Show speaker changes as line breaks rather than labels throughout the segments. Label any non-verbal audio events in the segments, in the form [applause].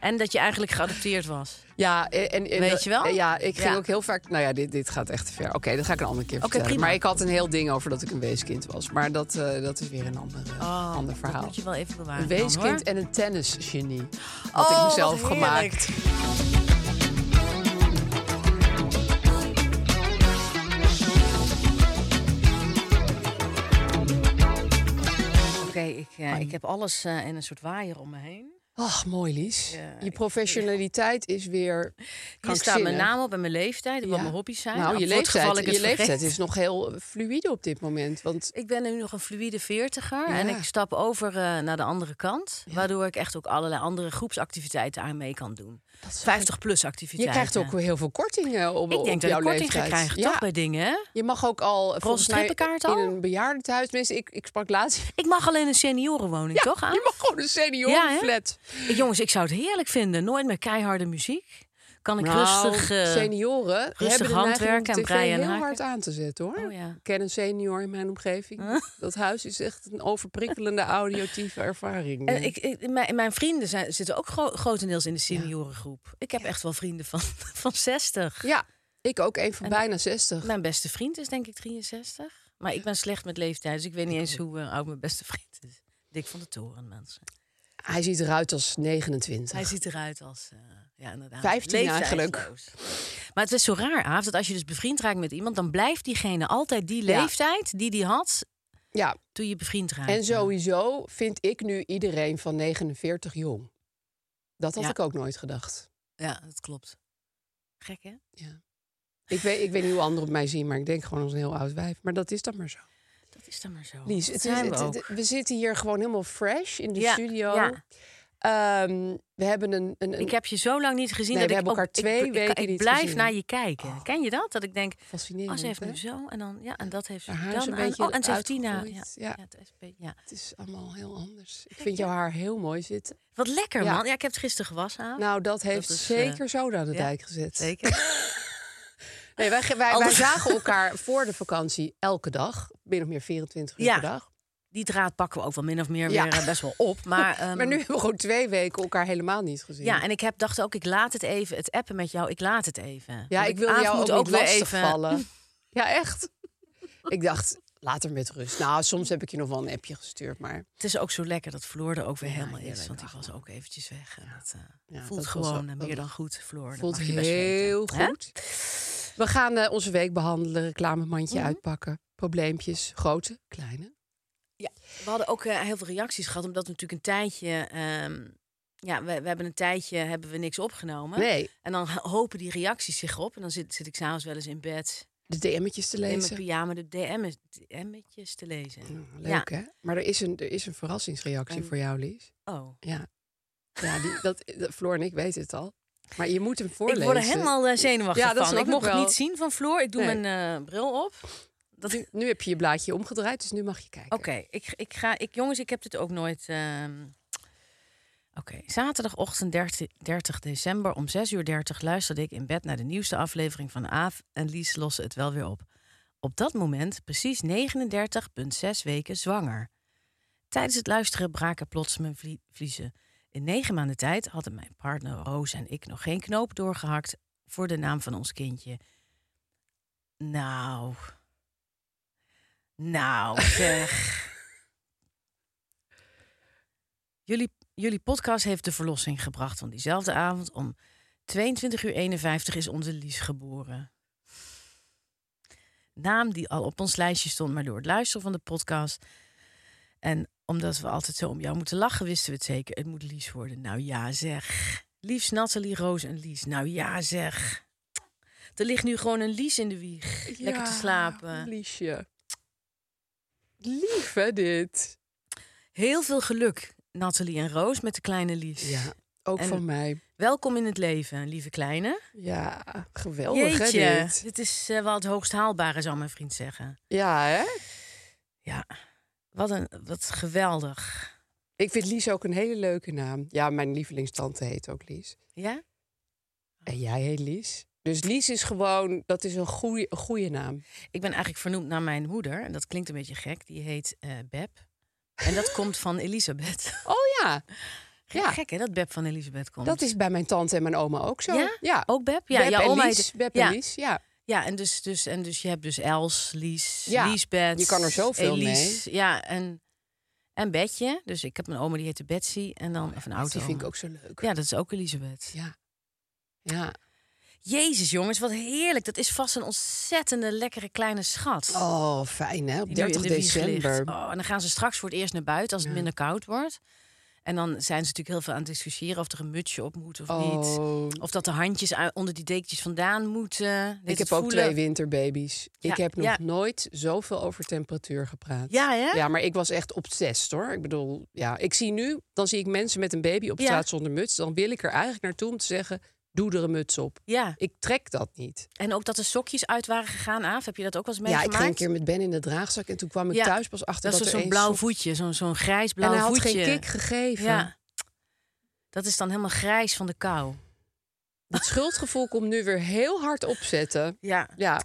En dat je eigenlijk geadopteerd was.
Ja, en, en- en-
Weet je wel?
Ja, ik ging
Ja.
ook heel vaak. Nou ja, dit, dit gaat echt te ver. Oké, dat ga ik een andere keer vertellen.
prima.
Maar ik had een heel ding over dat ik een weeskind was. Maar dat, eh, dat is weer een ander, ander
Oh, Dat
verhaal.
moet je wel even bewaren.
Een
dan,
weeskind
hoor.
en een tennisgenie had
Oh,
ik
wat
mezelf
heerlijk.
gemaakt.
Oké, ik, eh, ik heb alles eh, in een soort waaier om me heen.
Ach, mooi Lies.
Ja,
je
ik-
professionaliteit is weer.
Hier staat mijn naam op en mijn leeftijd en wat
Ja.
mijn hobby's zijn.
Nou,
Voor
je
het geval
leeftijd,
ik het
je leeftijd
vergeet.
is nog heel fluïde op dit moment. Want
Ik ben nu nog een fluïde veertiger en
Ja.
ik stap over eh, naar de andere kant. Waardoor ik echt ook allerlei andere groepsactiviteiten aan mee kan doen. 50-plus
je
activiteiten.
krijgt ook heel veel kortingen op,
Ik denk
op
dat
jouw
ik korting ga
leeftijd.
krijgen,
ja.
toch, bij dingen, hè?
Je mag ook al volgens mij
strippenkaart
in
al?
een bejaardentehuis. Tenminste, ik, ik sprak laatst.
[laughs] Ik mag alleen een seniorenwoning, toch, aan?
Je mag gewoon een seniorenflat.
Ik- Jongens, ik zou het heerlijk vinden. Nooit meer keiharde muziek. Kan ik
Nou,
rustig... eh,
senioren rustig hebben de
handwerken
neiging om
en
tv
breien en
heel
haken.
hard aan te zetten, hoor.
Oh, ja.
Ik ken een senior in mijn omgeving. Dat huis is echt een overprikkelende
[laughs]
audiotieve ervaring.
En ik, ik- mijn, mijn vrienden zijn, zitten ook gro- grotendeels in de seniorengroep. Ik heb echt wel vrienden van, [laughs] van 60.
ja, ik ook een van bijna 60.
Mijn beste vriend is denk ik 63. Maar ik ben slecht met leeftijd, dus ik weet niet eens hoe eh, oud mijn beste vriend is. Dik van de toren, mensen.
Hij ziet eruit als 29.
Hij ziet eruit als... eh, ja, inderdaad.
15 eigenlijk.
leeftijdsloos. Maar het is zo raar, Aaf, dat als je dus bevriend raakt met iemand... dan blijft diegene altijd die
Ja.
leeftijd die die had
Ja,
toen je bevriend raakte.
en sowieso vind ik nu iedereen van 49 jong. Dat had
Ja.
ik ook nooit gedacht.
Ja, dat klopt. Gek, hè?
Ik weet, ik weet niet hoe anderen op mij zien, maar ik denk gewoon als een heel oud wijf. Maar dat is dan maar zo.
Dat is dan maar zo.
Lies,
Oh, Dat
het is,
zijn we
het-
ook.
het- we zitten hier gewoon helemaal fresh in de
Ja,
studio.
ja.
Ehm, we hebben een, een, een
Ik heb je zo lang niet gezien
Nee,
dat
we
ik
hebben
ook-
elkaar twee
ik, ik,
weken
ik
niet
blijf
gezien. Oh.
naar je kijken. Ken je dat? Dat ik denk,
fascinerend.
oh, ze heeft
hè?
nu zo en dan ja en dat heeft ze
Haar
dan
haar is een
aan.
beetje
oh en ze heeft Tina. Ja,
uitgegroeid,
ja.
ja.
het is een beetje- ja.
Het is allemaal heel anders. Ik vind jouw haar heel mooi zitten.
Wat lekker
Ja.
man. Ja, ik heb het gisteren gewassen aan.
Nou, dat heeft
is,
zeker
eh,
zoda aan de
ja,
dijk gezet.
[laughs] Zeker.
Nee, wij, wij, wij
Anders-
zagen elkaar voor de vakantie elke dag. Min of meer 24 uur
Ja.
per dag.
Die draad pakken we ook wel min of meer
Ja.
weer eh, best wel
[laughs]
op. Maar, ehm,
Maar nu hebben we gewoon twee weken elkaar helemaal niet gezien.
Ja, en ik heb, dacht ook, ik laat het even. Het appen met jou, ik laat het even.
Ja,
Want
ik wilde
Aaf
jou
moet
ook, niet
weer
lastig
even [laughs]
vallen. Ja, echt. [laughs] ik dacht, laat hem met rust. Nou, soms heb ik je nog wel een appje gestuurd, maar
Het is ook zo lekker dat Floor er ook weer helemaal is.
heerlijk,
Want die
ach,
was ook eventjes weg. En dat eh,
Ja,
voelt
dat was
gewoon
wel-
eh, meer dan goed, Floor. Dat
voelt
mag je best
heel
weten, hè? Mhm.
goed. We gaan eh, onze week behandelen, reclamemandje uitpakken, probleempjes, grote, kleine.
We hadden ook eh, heel veel reacties gehad, omdat we natuurlijk een tijdje. ehm, ja, we, we hebben een tijdje hebben we niks opgenomen.
Nee,
En dan [laughs] ho- hopen die reacties zich op. En dan zit, zit ik s'avonds wel eens in bed
de DM'tjes te
in mijn
lezen.
pyjama de DM's DM'tjes te lezen.
Ja, Leuk hè? Maar er is een, er is een verrassingsreactie
En-
voor jou, Lies.
Oh.
Ja, ja die, dat, dat- Floor en ik weten het al. Maar je moet hem
Ik
voorlezen.
word er helemaal eh, zenuwachtig
Ja, dat
van.
snap
Ik
ik
mocht het
wel.
niet zien van Floor. Ik doe
Nee.
mijn eh, bril op. Dat... Oké,
Nu heb je je blaadje omgedraaid, dus nu mag je kijken.
ik, ik ga... Ik, jongens, ik heb dit ook nooit... ehm, Oké, zaterdagochtend 30, 30 december om 6.30 uur luisterde ik in bed naar de nieuwste aflevering van Aaf en Lies lossen het wel weer op. Op dat moment precies 39,6 weken zwanger. Tijdens het luisteren braken plots mijn vlie- vliezen. In negen maanden tijd hadden mijn partner Roos en ik nog geen knoop doorgehakt voor de naam van ons kindje. Nou. Nou, zeg. [laughs] Jullie, jullie podcast heeft de verlossing gebracht. Want diezelfde avond om 22 uur 51 is onze Lies geboren. Naam die al op ons lijstje stond, maar door het luisteren van de podcast... en omdat we altijd zo om jou moeten lachen, wisten we het zeker. Het moet Lies worden. Nou ja, zeg. Liefst Nathalie, Roos en Lies. Nou ja, zeg. Er ligt nu gewoon een Lies in de wieg. Lekker te
Ja,
slapen.
Liesje. Lief, hè, dit?
Heel veel geluk, Nathalie en Roos, met de kleine Lies.
Ja, ook
En-
van mij.
Welkom in het leven, lieve kleine.
Ja, geweldig, hè,
Jeetje,
dit?
dit is eh, wel het hoogst haalbare, zou mijn vriend zeggen.
Ja, hè?
Ja, wat, een, wat geweldig.
Ik vind Lies ook een hele leuke naam. Ja, mijn lievelingstante heet ook Lies.
Ja?
En jij heet Lies. Dus Lies is gewoon, dat is een goede, goede naam.
Ik ben eigenlijk vernoemd naar mijn moeder. En dat klinkt een beetje gek. Die heet eh, Beb. En dat komt van
[laughs]
Elisabeth.
Oh ja, Ja.
Gek hè, dat Beb van Elisabeth komt.
dat is bij mijn tante en mijn oma ook zo.
Ja? Ook Beb? Ja,
Beb
jouw
en
oma
Lies.
heet-
Beb
ja.
en Lies, ja.
Ja, en dus, dus, en dus je hebt dus Els, Lies,
Ja,
Liesbeth.
je kan er zoveel
Elise, Ja, en, en Betje. Dus ik heb een oma die heette Betsy. En dan, of een oud
Die vind ik ook zo leuk.
Ja, dat is ook Elisabeth.
Ja. Ja.
Jezus jongens, wat heerlijk. Dat is vast een ontzettende lekkere kleine schat.
Oh, fijn hè, op
die nu in
30
de wieg
december.
ligt. Oh, en dan gaan ze straks voor het eerst naar buiten als het minder koud wordt. En dan zijn ze natuurlijk heel veel aan het discussiëren of er een mutsje op moet of niet.
Oh.
Of dat de handjes uit- onder die dekentjes vandaan moeten. Weet het
Ik heb ook
voelen.
twee winterbaby's.
Ja,
ik heb nog
ja.
nooit zoveel over temperatuur gepraat.
Ja, hè?
Ja, maar ik was echt obsessed hoor. Ik bedoel, ja, ik zie nu, dan zie ik mensen met een baby op
Ja.
straat zonder muts. Dan wil ik er eigenlijk naartoe om te zeggen, doe er een muts op.
Ja,
Ik trek dat niet.
en ook dat de sokjes uit waren gegaan, Aaf. Heb je dat ook wel eens
ja, ik
meegemaakt?
ging een keer met Ben in de draagzak en toen kwam ik
Ja,
thuis pas achter
Dat is
dat,
dus
er
zo'n
één
blauw
sok-
voetje, zo'n zo'n grijs
En
blauw
hij had
voetje.
geen kick gegeven.
Ja. Dat is dan helemaal grijs van de kou.
Het schuldgevoel komt nu weer heel hard opzetten.
Ja.
Ja,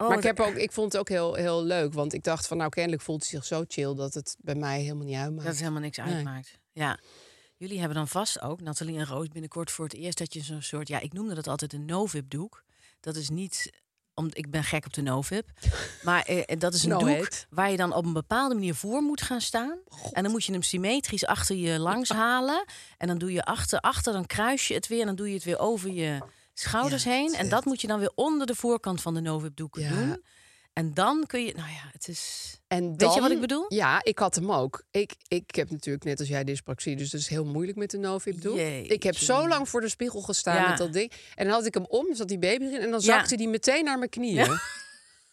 Oh,
maar ik,
dat-
heb ook, ik vond het ook heel, heel leuk. Want ik dacht van nou, kennelijk voelt hij zich zo chill... dat het bij mij helemaal niet uitmaakt.
[clears throat] Dat het helemaal niks
Nee.
uitmaakt. Ja. Jullie hebben dan vast ook, Nathalie en Roos, binnenkort voor het eerst dat je zo'n soort... Ja, ik noemde dat altijd een no-vip-doek. Dat is niet... Om, ik ben gek op de
[laughs]
no-vip. Maar eh, dat is een
No
doek
head.
waar je dan op een bepaalde manier voor moet gaan staan. En dan moet je hem symmetrisch achter je langs halen. En dan doe je achter, achter, dan kruis je het weer. En dan doe je het weer over je schouders
Ja,
heen.
het is
En dat
echt-
moet je dan weer onder de voorkant van de no-vip doek
Ja.
doen. En dan kun je... Nou ja, het is...
En
Weet je wat
dan-
ik bedoel?
Ja, ik had hem ook. Ik, ik heb natuurlijk net als jij dyspraxie, dus dat is heel moeilijk met de novip doek. Ik heb
Jeetje.
zo lang voor de spiegel gestaan
Ja.
met dat ding. En dan had ik hem om, zat die baby erin en dan
Ja.
zakte die meteen naar mijn knieën.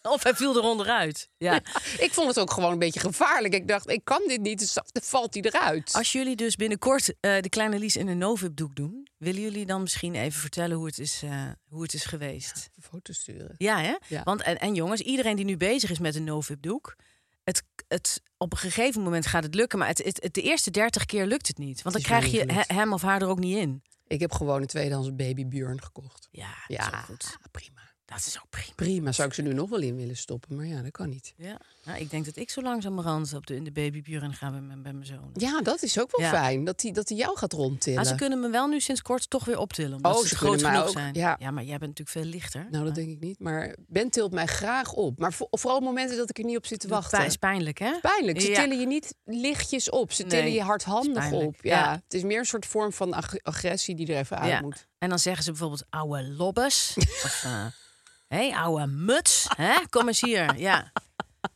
Of hij viel eronder uit. Ja.
[laughs] Ik vond het ook gewoon een beetje gevaarlijk. Ik dacht, ik kan dit niet, dus dan valt hij eruit.
Als jullie dus binnenkort eh, de kleine Lies in een Novib doek doen, willen jullie dan misschien even vertellen hoe het is, eh, hoe het is geweest?
Even foto's sturen.
Ja, hè?
Ja.
Want en, en jongens, iedereen die nu bezig is met een Novib doek, het, het, op een gegeven moment gaat het lukken, maar het, het, het- de eerste 30 keer lukt het niet, want dan
Het is mij
krijg je
niet gelukt.
he- hem of haar er ook niet in.
Ik heb gewoon een tweedehands baby Björn gekocht.
Ja, dat is ook
Ja,
goed.
prima.
Dat is ook prima.
Prima, zou ik ze nu nog wel in willen stoppen, maar ja, dat kan niet.
Ja. Nou, ik denk dat ik zo langzamerhand op de, in de babyburen ga bij mijn, bij mijn zoon.
Ja, dat is ook wel
Ja.
fijn, dat hij dat die jou gaat rondtillen.
Maar Ah, ze kunnen me wel nu sinds kort toch weer optillen. Omdat
Oh,
ze,
ze
groot
kunnen mij
genoeg
ook,
zijn.
ja.
maar jij bent natuurlijk veel lichter.
Nou, dat denk ik niet. Maar Ben tilt mij graag op. Maar vo- vooral momenten dat ik er niet op zit te wachten.
Het is pijnlijk, hè?
Pijnlijk. Ze
Ja.
tillen je niet lichtjes op. Ze
Nee,
tillen je
het is
hardhandig
pijnlijk.
op. Ja.
Ja.
Het is meer een soort vorm van ag- agressie die er even uit
Ja. [laughs]
moet.
En dan zeggen ze bijvoorbeeld ouwe
[laughs]
lobbes. of eh hé, ouwe muts. Hè? Kom eens hier. Ja.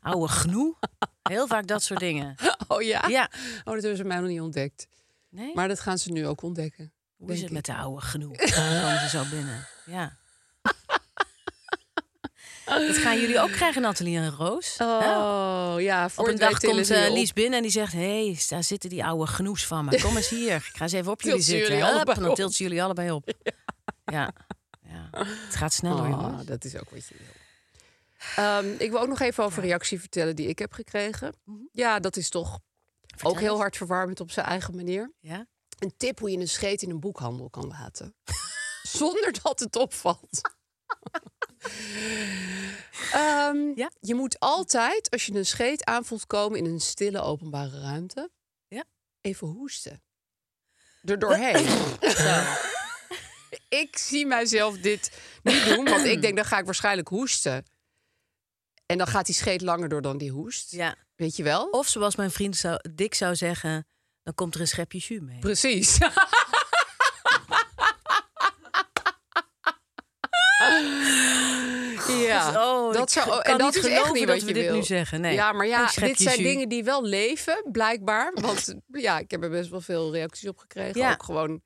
Ouwe gnoe. Heel vaak dat soort dingen.
Oh ja?
Ja.
Oh, dat hebben ze mij nog niet ontdekt.
Nee?
Maar dat gaan ze nu ook ontdekken.
Hoe is
denk
het
ik.
met de ouwe gnoe? Dan komen ze zo binnen.
[laughs]
Ja. Dat gaan jullie ook krijgen, Nathalie en Roos. hè?
Oh ja, voor
Op een
het wij
dag
tillen
komt
ze je
eh,
op.
Lies binnen en die zegt... hé, hey, daar zitten die oude genoes van me. Kom eens hier, ik ga eens even op
Tilt
jullie
ze
zitten.
jullie
Hup,
allebei
en dan
op.
tilt ze jullie allebei
[laughs]
op. Ja, ja. het gaat snel hoor,
Oh,
jongens.
dat is ook wat je wil. Ehm, ik wil ook nog even over een reactie vertellen die ik heb gekregen. Ja, dat is toch ook heel
Mhm. eens.
hard verwarmend op zijn eigen manier.
Ja?
een tip hoe je een scheet in een boekhandel kan laten. [laughs] Zonder dat het opvalt. [laughs] Ehm,
Ja.
Je moet altijd, als je een scheet aan voelt komen in een stille openbare ruimte,
Ja.
even hoesten. Er doorheen. ik zie mijzelf dit niet doen, want ik denk dan ga ik waarschijnlijk hoesten. En dan gaat die scheet langer door dan die hoest.
ja.
Weet je wel?
Of zoals mijn vriend zou, Dick zou zeggen... Dan komt er een schepje jus mee.
Precies. [laughs] ja,
oh, ik
dat zou,
kan
en dat
niet
is echt
geloven
niet
dat
wat
we
je
dit
wil.
nu zeggen, nee.
Ja, maar
Een
ja, dit
schepje
zijn
jus.
dingen die wel leven, blijkbaar. Want ja, ik heb er best wel veel reacties op gekregen.
Ja.
Ook gewoon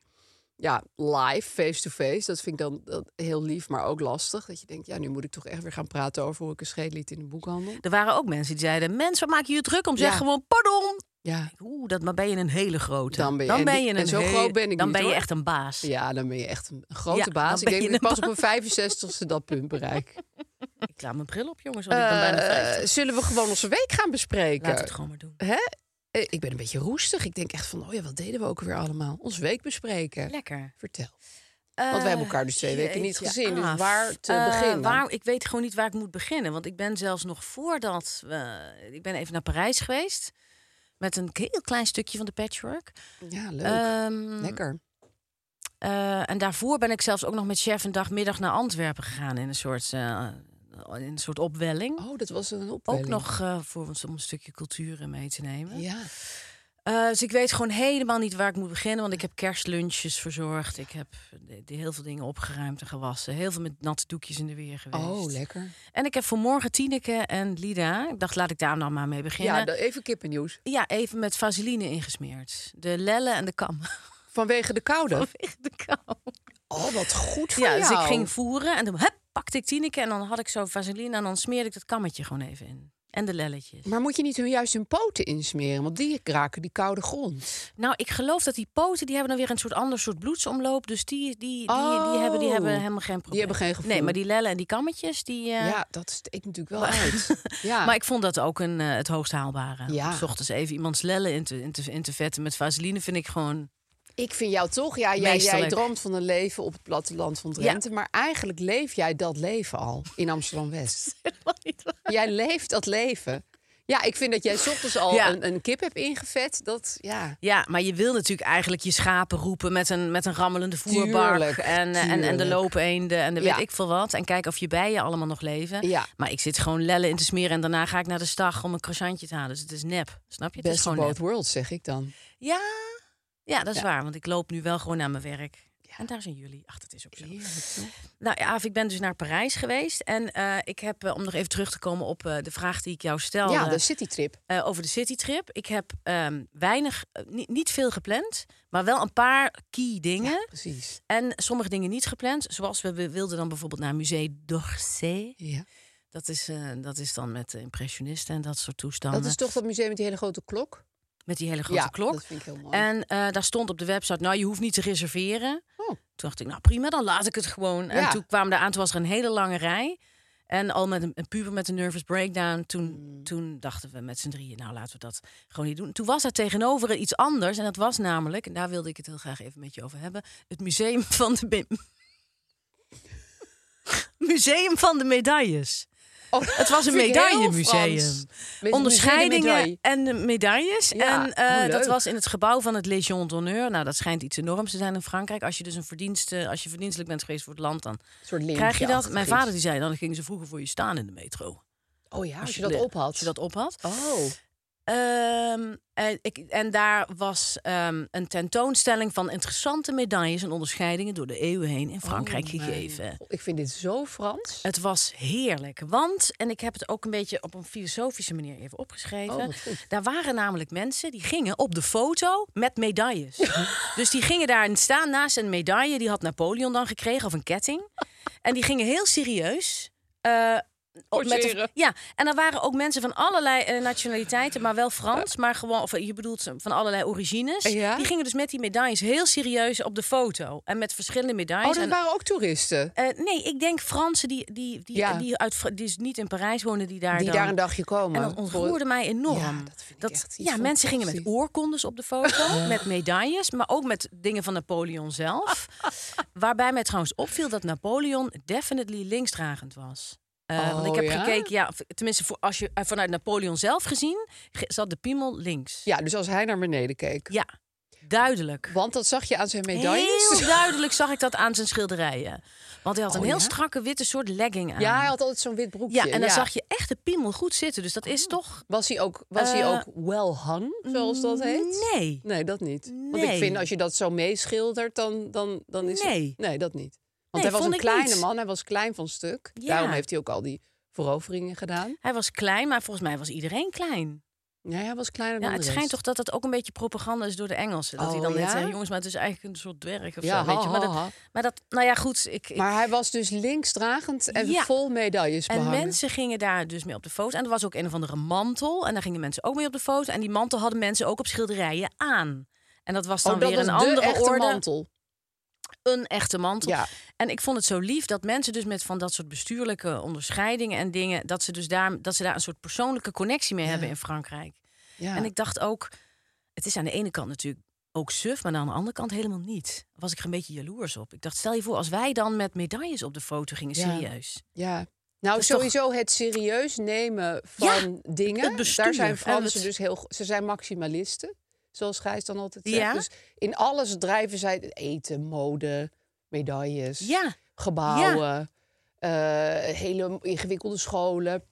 ja, live, face-to-face. Dat vind ik dan dat, heel lief, maar ook lastig. Dat je denkt, ja, nu moet ik toch echt weer gaan praten over hoe ik een scheet liet in de boekhandel.
Er waren ook mensen die zeiden: Mens, waar maak je je druk om? Zeg
Ja.
gewoon: Pardon.
Ja,
Oeh, dat, maar ben je een hele grote.
Dan ben je- en die-
een
en zo
hele-
groot ben ik
Dan
niet,
ben je
hoor.
echt een baas.
ja dan ben je echt een grote
Ja, dan
baas. Ik
ben
denk
je
dat ik
een
pas op mijn 65ste dat punt bereik.
Ik laat mijn bril op, jongens, want ik ben bijna 50.
Eh, zullen we gewoon onze week gaan bespreken?
Laat het gewoon maar doen.
Hè? Eh, Ik ben een beetje roestig. Ik denk echt van, oh ja, wat deden we ook weer allemaal? Ons week bespreken.
Lekker. Eh,
Vertel. Want wij hebben elkaar dus twee weken niet
Jeetje,
gezien, dus
Aaf.
waar te
Eh,
beginnen?
Waar, ik weet gewoon niet waar ik moet beginnen. Want ik ben zelfs nog voordat... we ik ben even naar Parijs geweest. Met een heel klein stukje van de patchwork.
Ja, leuk.
Ehm,
Lekker.
eh, en daarvoor ben ik zelfs ook nog met chef een dagmiddag naar Antwerpen gegaan. In een soort, eh, in een soort opwelling.
Oh, dat was een opwelling.
ook nog eh, voor ons om een stukje cultuur eh, mee te nemen.
Ja.
Eh, dus ik weet gewoon helemaal niet waar ik moet beginnen. Want ik heb kerstlunches verzorgd. Ik heb de- de- heel veel dingen opgeruimd en gewassen. Heel veel met natte doekjes in de weer geweest.
Oh, lekker.
En ik heb vanmorgen Tineke en Lida. Ik dacht, laat ik daar nou maar mee beginnen.
Ja,
Ja,
da- even kippennieuws.
even met vaseline ingesmeerd. De lellen en de kam. [laughs]
Vanwege de koude.
Vanwege de kam.
Oh, wat goed voor
Ja,
jou.
dus ik ging voeren en dan hup, pakte ik Tineke. En dan had ik zo vaseline en dan smeerde ik dat kammetje gewoon even in. En de lelletjes.
Maar moet je niet hun juist hun poten insmeren? Want die raken die koude grond.
Nou, ik geloof dat die poten, die hebben dan weer een soort ander soort bloedsomloop. Dus die, die, die, die, hebben, die hebben
Oh.
helemaal geen probleem.
hebben geen gevoel.
Nee, maar die lellen en die kammetjes, die... eh,
Ja, dat steekt natuurlijk wel
[laughs]
uit. Ja.
Maar ik vond dat ook een, eh, het hoogst haalbare.
Ja.
Om 's ochtends even iemands lellen in te, in, te, in te vetten met vaseline vind ik gewoon...
Ik vind jou toch, ja, jij, jij
Meesterlijk.
droomt van een leven op het platteland van Drenthe. Maar eigenlijk leef jij dat leven al in
[laughs]
Amsterdam-West. jij leeft dat leven. Ja, ik vind dat jij 's ochtends al
Ja.
een, een kip hebt ingevet. Dat, ja.
Ja, maar je wil natuurlijk eigenlijk je schapen roepen met een, met een rammelende voerbak.
Tuurlijk,
en, eh, en, en de
tuurlijk.
loopeenden en de
Ja.
weet ik veel wat. En kijken of je bijen allemaal nog leven.
Ja.
Maar ik zit gewoon lellen in te smeren en daarna ga ik naar de stag om een croissantje te halen. Dus het is nep, snap je? Het is
Best of
gewoon
both
nep.
worlds, zeg ik dan.
Ja, ja dat is
Ja.
waar. Want ik loop nu wel gewoon naar mijn werk. En daar zijn jullie. Ach, dat is ook zo. Nou ja, Aaf, ik ben dus naar Parijs geweest. En eh, ik heb, eh, om nog even terug te komen op eh, de vraag die ik jou stelde...
Ja, de citytrip.
eh, over de citytrip. Ik heb ehm, weinig, eh, ni- niet veel gepland, maar wel een paar key dingen.
Precies.
En sommige dingen niet gepland. Zoals we- we wilden dan bijvoorbeeld naar Musée d'Orsay.
Ja.
Dat is, eh, dat is dan met de impressionisten en dat soort toestanden.
Dat is toch dat museum met die hele grote klok?
Met die hele grote
ja,
klok.
dat vind ik heel mooi.
En eh, daar stond op de website, nou, je hoeft niet te reserveren.
Oh.
Toen dacht ik, nou prima, dan laat ik het gewoon.
Ja.
En toen kwamen we eraan, toen was er een hele lange rij. En al met een, een puber met een nervous breakdown. Toen,
Hmm.
toen dachten we met z'n drieën, nou laten we dat gewoon niet doen. Toen was daar tegenover iets anders. En dat was namelijk, en daar wilde ik het heel graag even met je over hebben... het museum van de... be- [laughs] museum van de medailles.
Oh,
Het was een
vind ik heel
medaillemuseum.
Frans. Met een medaille.
Onderscheidingen en eh, medailles.
Ja,
en eh,
oh,
dat
leuk.
was in het gebouw van het Légion d'honneur. Nou, dat schijnt iets enorms te zijn in Frankrijk. Als je dus een verdienste, als je verdienstelijk bent geweest voor het land, dan
Een soort lintje
krijg je dat.
achter
Mijn
iets.
vader die zei, dan gingen ze vroeger voor je staan in de metro.
Oh ja, als je dat op had.
Als je dat op had.
Oh.
Ehm, en, ik, en daar was ehm, een tentoonstelling van interessante medailles en onderscheidingen door de eeuwen heen in Frankrijk
Oh, mijn
gegeven.
God, Ik vind dit zo Frans. Oh,
Het was heerlijk. Want, en ik heb het ook een beetje op een filosofische manier even opgeschreven.
Oh, wat goed.
daar waren namelijk mensen die gingen op de foto met medailles. dus die gingen daar staan naast een medaille. Die had Napoleon dan gekregen, of een ketting. En die gingen heel serieus. eh, op- de-
Poseren.
ja, en er waren ook mensen van allerlei eh, nationaliteiten, maar wel Frans, maar gewoon, of eh, je bedoelt van allerlei origines.
Ja.
Die gingen dus met die medailles heel serieus op de foto. En met verschillende medailles.
Oh, dat
En-
waren ook toeristen.
eh, nee, ik denk Fransen die, die, die,
Ja.
die, uit, Fra- die niet in Parijs wonen, die daar
die
dan...
daar een dagje komen.
en dat ontroerde mij enorm.
Ja, dat vind ik echt iets
ja mensen gingen met
fantastisch.
oorkondes op de
[laughs]
foto, met medailles, maar ook met dingen van Napoleon zelf. Waarbij mij trouwens opviel dat Napoleon definitely linksdragend was. Eh, want ik
Oh,
heb
ja?
gekeken, ja, v- tenminste voor, als je eh, vanuit Napoleon zelf gezien, ge- zat de piemel links.
Ja, dus als hij naar beneden keek.
Ja. Duidelijk.
Want dat zag je aan zijn medailles.
Heel duidelijk zag ik dat aan zijn schilderijen. Want hij had een
Oh,
heel
ja?
strakke witte soort legging aan.
[laughs] Ja, hij had altijd zo'n wit broekje.
Ja, en dan zag je echt de piemel goed zitten. Dus dat is toch...
Was hij ook, was hij
Eh, mm,
ook well hung, Oh, zoals dat heet?
Nee.
Nee, dat niet. Want ik
Nee.
vind als je dat zo meeschildert, dan, dan, dan is
Nee.
het... Nee, dat niet. Want
Nee,
hij was
vond
een
ik
kleine
niet.
man, hij was klein van stuk.
Ja.
Daarom heeft hij ook al die veroveringen gedaan.
Hij was klein, maar volgens mij was iedereen klein.
Ja, hij was kleiner dan
Ja,
de
het
rest.
schijnt toch dat dat ook een beetje propaganda is door de Engelsen. Dat die
Oh,
dan net
ja?
zeggen, jongens, maar het is eigenlijk een soort dwerg of
Ja,
zo. Weet je.
ha,
Maar,
ha,
dat,
ha.
maar dat, nou ja, goed. Ik, ik-
Maar hij was dus linksdragend en
Ja.
vol medailles Oh,
en
behangen.
mensen gingen daar dus mee op de foto. En er was ook een of andere mantel. En daar gingen mensen ook mee op de foto. En die mantel hadden mensen ook op schilderijen aan. En dat was dan
oh, dat
weer
was
een
de
andere
echte
orde.
mantel.
Een echte mantel.
Ja.
En ik vond het zo lief dat mensen dus met van dat soort bestuurlijke onderscheidingen en dingen, dat ze dus daar, dat ze daar een soort persoonlijke connectie mee hebben in Frankrijk.
Ja.
En ik dacht ook, het is aan de ene kant natuurlijk ook suf, maar aan de andere kant helemaal niet. Daar was ik er een beetje jaloers op. Ik dacht, stel je voor, als wij dan met medailles op de foto gingen,
Ja.
serieus.
Ja. Nou,
is toch-
sowieso het serieus nemen van dingen.
het bestuur
Daar zijn
en
Fransen
het-
dus heel... go- Ze zijn maximalisten, zoals Gijs dan altijd zegt.
Ja.
Dus in alles drijven zij eten, mode, medailles,
Ja.
gebouwen, eh, hele ingewikkelde scholen.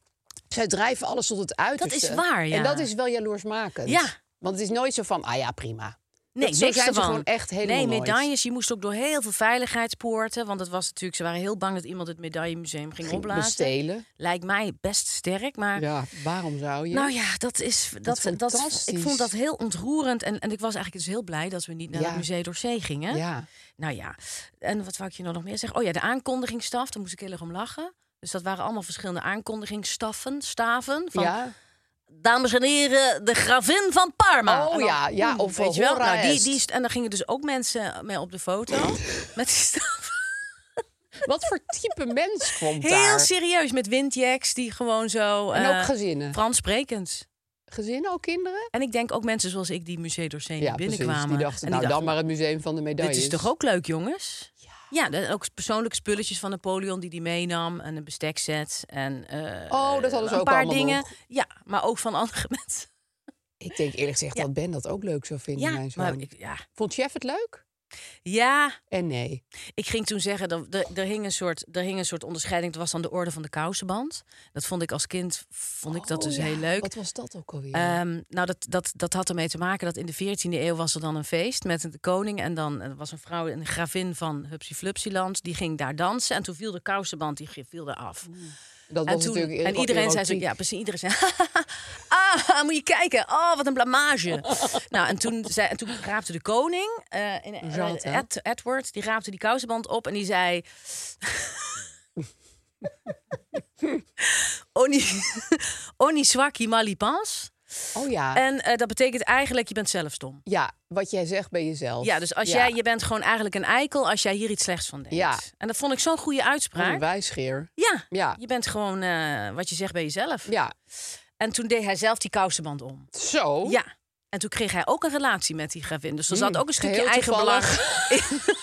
Zij drijven alles tot het uiterste.
waar, ja.
En dat is wel jaloersmakend.
Ja.
Want het is nooit zo van, ah ja, prima.
Nee,
Dat- zo
niks
zijn ze
ervan.
gewoon echt helemaal
Nee,
nooit.
medailles, je moest ook door heel veel veiligheidspoorten. Want het was natuurlijk, ze waren heel bang dat iemand het medaillemuseum ging,
Ging
opblazen.
bestelen.
Lijkt mij best sterk, maar...
Ja, waarom zou je?
Nou ja, dat is. Dat,
is
dat ik
fantastisch.
vond dat heel ontroerend. En, en ik was eigenlijk dus heel blij dat we niet naar
Ja.
het museum door Zee gingen.
ja.
Nou ja, en wat wou ik je nou nog meer zeggen? Oh ja, de aankondigingsstaf, daar moest ik heel erg om lachen. Dus dat waren allemaal verschillende aankondigingsstaffen, staven. Van,
ja.
dames en heren, de gravin van Parma.
Oh
En dan,
ja, ja,
mm,
of
weet je wel.
Hora
Nou, die,
est.
die, st- en dan gingen dus ook mensen mee op de foto
[laughs]
met die staf.
Wat voor
[laughs]
type mens komt daar?
Heel serieus, met windjacks die gewoon zo...
En
eh,
ook gezinnen.
Frans sprekend.
Gezinnen, ook kinderen?
En ik denk ook mensen zoals ik die Musée d'Orsay
Ja, precies. Die
binnenkwamen.
dachten, nou
en
dan
dachten,
maar het museum van de medailles.
Dit is toch ook leuk, jongens? Ja. en ook persoonlijke spulletjes van Napoleon die die meenam. En een bestekset. En, eh,
Oh, dat hadden ze
een
ook
paar
allemaal
dingen.
nog.
Ja, maar ook van andere [laughs] mensen.
Ik denk eerlijk gezegd dat Ben dat ook leuk zou vinden,
Ja,
mijn zoon.
maar ik, ja.
Vond Jeff het leuk?
ja,
En nee.
ik ging toen zeggen, dat er, er, hing een soort, er hing een soort onderscheiding. Dat was dan de orde van de kousenband. Dat vond ik als kind, vond ik dat
Oh
dus
ja,
heel leuk.
Wat was dat ook alweer?
Ehm, nou, dat, dat, dat had ermee te maken dat in de 14e eeuw was er dan een feest met de koning. En dan er was een vrouw, een gravin van Hupsi Flupsiland, die ging daar dansen. En toen viel de kousenband, die g- viel eraf.
dat
en,
was
toen,
natuurlijk
en
gewoon
iedereen zei zo,
erotiek.
ja precies, iedereen zei, [laughs] ah, moet je kijken, oh, wat een
[laughs]
blamage. nou, en toen, zei, en toen raapte de koning, eh, in- eh,
Jean, hè?
Ed- Edward, die raapte die kousenband op en die
[laughs]
zei... [laughs] Oni, [laughs] oni swaki malipans.
Oh ja.
En eh, dat betekent eigenlijk, je bent zelf stom.
ja, wat jij zegt bij jezelf.
Ja, dus als jij, je bent gewoon eigenlijk een eikel als jij hier iets slechts van denkt.
Ja.
En dat vond ik zo'n goede
Wat een
uitspraak.
wijsgeer.
Ja,
Ja.
je bent gewoon eh, wat je zegt bij jezelf.
Ja,
En toen deed hij zelf die kousenband om.
zo.
Ja. En toen kreeg hij ook een relatie met die gravin. Dus er
Hmm,
zat ook een stukje
geheel
eigen belang.
toevallig. [laughs]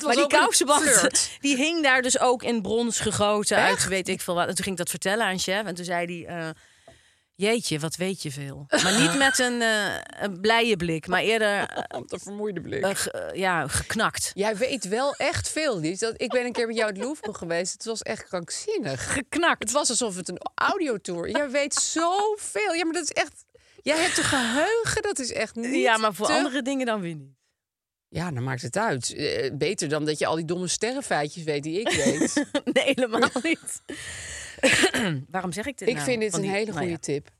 Maar die
ook een [laughs]
kousenband,
flirt.
[laughs] die hing daar dus ook in brons gegoten. Uit weet ik veel wat. En toen ging ik dat vertellen aan chef. En toen zei hij... eh, Jeetje, wat weet je veel. Maar
[laughs]
niet met een, eh, een blije blik, maar eerder eh,
Om te vermoeide blik.
eh, ge- eh, ja, geknakt.
Jij weet wel echt veel, Lies. Dat, ik ben een keer met jou in het Louvre geweest. Het was echt krankzinnig.
[laughs]
Het
Geknakt.
was alsof het een audiotour. Jij weet zoveel. Ja, maar dat is echt... Jij hebt een geheugen, dat is echt niet
Ja, maar voor
te-
andere dingen dan weer niet.
Ja, dan maakt het uit. Eh, beter dan dat je al die domme sterrenfeitjes weet die ik
[laughs]
weet.
[laughs] Nee, helemaal niet. [clears throat] Waarom zeg ik dit
ik
nou?
vind dit
Van
een
die-
hele
nou
goede
ja.
tip.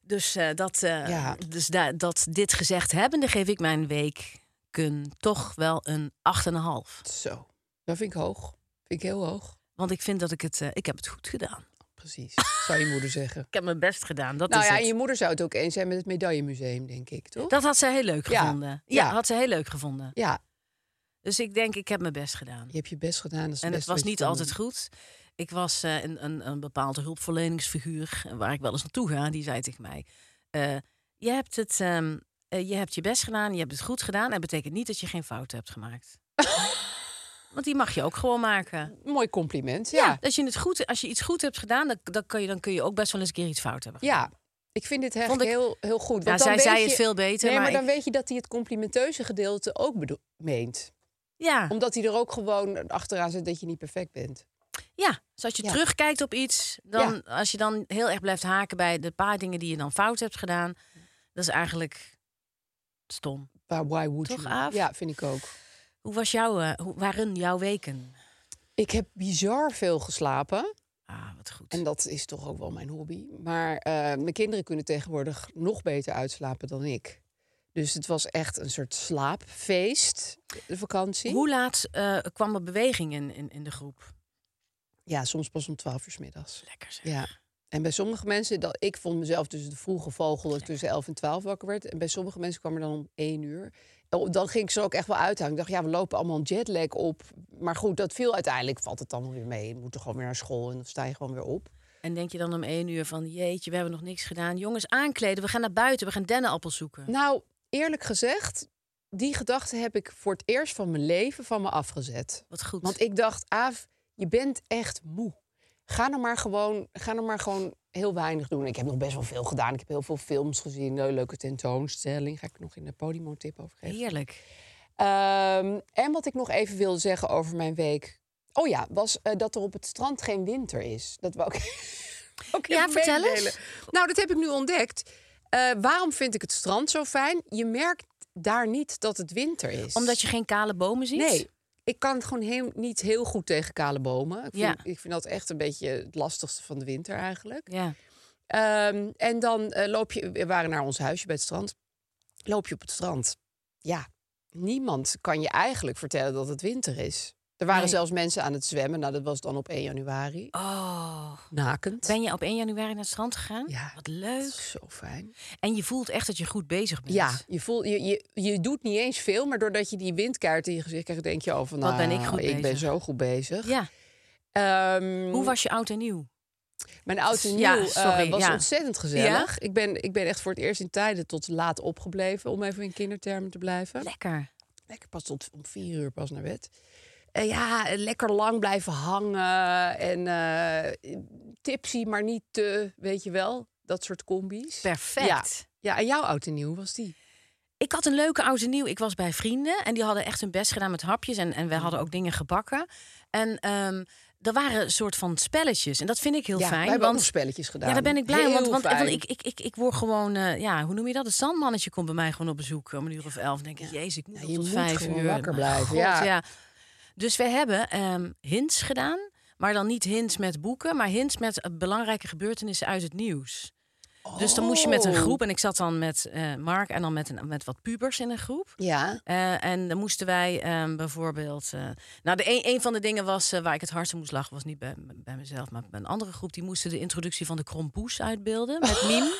Dus, eh, dat, eh,
Ja.
dus da- dat dit gezegd hebbende geef ik mijn week kun toch wel een 8,5.
Zo. Dat vind ik hoog. Vind ik heel hoog.
Want ik vind dat ik het, eh, ik heb het goed gedaan.
Precies. Zou je moeder zeggen.
Ik heb mijn best gedaan, dat
nou
is
ja, en
het.
je moeder zou het ook eens zijn met het medaillemuseum, denk ik, toch?
Dat had ze heel leuk
Ja.
gevonden. Ja,
Ja.
had ze heel leuk gevonden.
Ja,
Dus ik denk, ik heb mijn best gedaan.
je hebt je best gedaan. Dat is
En het
best
was
wat je
niet
kan
altijd
doen.
goed. Ik was eh, een, een, een bepaalde hulpverleningsfiguur eh, waar ik wel eens naartoe ga. Die zei tegen mij: eh, je, hebt het, ehm, eh, je hebt je best gedaan, je hebt het goed gedaan. En dat betekent niet dat je geen fouten hebt
[laughs]
gemaakt. Want die mag je ook gewoon maken.
Mooi compliment,
Ja.
ja.
als, je het goed, als je iets goed hebt gedaan, dan, dan, kun je, dan kun je ook best wel eens een keer iets fout hebben.
Ja, Ik vind dit echt
Vond ik-
heel, heel goed. Want
Ja,
dan
zij
weet
zei
je-
het veel beter,
Nee, maar,
maar
dan
ik-
weet je dat hij het complimenteuze gedeelte ook bedo- meent.
Ja,
Omdat hij er ook gewoon achteraan zit dat je niet perfect bent.
ja. Dus als je
Ja.
terugkijkt op iets, dan, als je dan heel erg blijft haken bij de paar dingen die je dan fout hebt gedaan, dat is eigenlijk stom.
Maar why would
Toch,
you?
Aaf?
Ja, vind ik ook.
Hoe was jouw, eh, hoe waren jouw weken?
Ik heb bizar veel geslapen.
Ah, wat goed.
En dat is toch ook wel mijn hobby. Maar eh, mijn kinderen kunnen tegenwoordig nog beter uitslapen dan ik. Dus het was echt een soort slaapfeest, de vakantie.
Hoe laat eh, kwam er beweging in, in, in de groep?
Ja, soms pas om twaalf uur 's middags.
Lekker zeg.
Ja. En bij sommige mensen, dat, ik vond mezelf dus de vroege vogel dat ik tussen 11 en 12 wakker werd. En bij sommige mensen kwam er dan om 1 uur. En Dan ging ik ze ook echt wel uithouden. Ik dacht, ja, we lopen allemaal een jetlag op. Maar goed, dat viel uiteindelijk, valt het dan weer mee. Je moet er gewoon weer naar school en dan sta je gewoon weer op.
En denk je dan om één uur van, jeetje, we hebben nog niks gedaan. Jongens, aankleden, we gaan naar buiten, we gaan dennenappels zoeken.
Nou, eerlijk gezegd, die gedachte heb ik voor het eerst van mijn leven van me afgezet.
Wat goed.
Want ik dacht, Aaf, je bent echt moe. Ga nou maar gewoon, ga nou maar gewoon heel weinig doen. Ik heb nog best wel veel gedaan. Ik heb heel veel films gezien. Een leuke tentoonstelling. Ga ik nog in de Podimo-tip over geven.
Heerlijk.
Ehm, en wat ik nog even wilde zeggen over mijn week. Oh ja, was eh, dat er op het strand geen winter is. Dat wou ik. [laughs] ook
Ja,
even
vertel eens.
meedelen. Nou, dat heb ik nu ontdekt. Eh, waarom vind ik het strand zo fijn? Je merkt daar niet dat het winter is.
Omdat je geen kale bomen ziet?
Nee, ik kan gewoon heel, niet heel goed tegen kale bomen. Ik vind,
Ja.
ik vind dat echt een beetje het lastigste van de winter eigenlijk.
Ja.
Ehm, en dan eh, loop je, we waren naar ons huisje bij het strand. Loop je op het strand. Ja, niemand kan je eigenlijk vertellen dat het winter is. Er waren
Nee.
zelfs mensen aan het zwemmen. Nou, dat was dan op 1 januari.
Oh.
Nakend.
Ben je op 1 januari naar het strand gegaan?
Ja.
Wat leuk.
Zo fijn.
En je voelt echt dat je goed bezig bent.
Ja, je, voelt, je, je, je doet niet eens veel, maar doordat je die windkaart in je gezicht krijgt, denk je al van,
Wat
nou,
ben ik goed
ik ben
bezig.
zo goed bezig.
Ja.
Ehm,
Hoe was je oud en nieuw?
Mijn oud en nieuw
Ja,
eh,
sorry,
was
ja.
ontzettend gezellig. Ik, ben, ik ben echt voor het eerst in tijden tot laat opgebleven, om even in kindertermen te blijven.
Lekker.
Lekker pas tot om vier uur pas naar bed. Eh, ja, eh, lekker lang blijven hangen en eh tipsy, maar niet te, weet je wel, dat soort combis.
Perfect.
Ja, ja en jouw oud en nieuw was die.
Ik had een leuke oud en nieuw. Ik was bij vrienden en die hadden echt hun best gedaan met hapjes. En, en wij
Mm.
hadden ook dingen gebakken. En ehm er waren een soort van spelletjes. En dat vind ik heel
ja, wij
fijn.
hebben
Want
ook spelletjes gedaan.
Ja, daar ben ik blij om.
Heel
Want, want, want
fijn.
ik, ik, ik, ik word gewoon, eh, ja, hoe noem je dat? Het zandmannetje komt bij mij gewoon op bezoek eh, om een uur of elf. Dan denk ik, jezus, ik moet
Ja,
nog
je
tot
moet
vijf
gewoon
uur. Mijn
wakker blijven,
god,
ja.
Dus we hebben ehm, hints gedaan, maar dan niet hints met boeken, maar hints met eh, belangrijke gebeurtenissen uit het nieuws. Dus dan moest je met een
Oh.
groep, en ik zat dan met eh, Mark en dan met, een, met wat pubers in een groep.
Ja,
Eh, en dan moesten wij ehm, bijvoorbeeld. eh, nou, de een, een van de dingen was eh, waar ik het hardst om moest lachen, was niet bij, bij mezelf, maar bij een andere groep. Die moesten de introductie van de krompoes uitbeelden
[laughs]
met meme.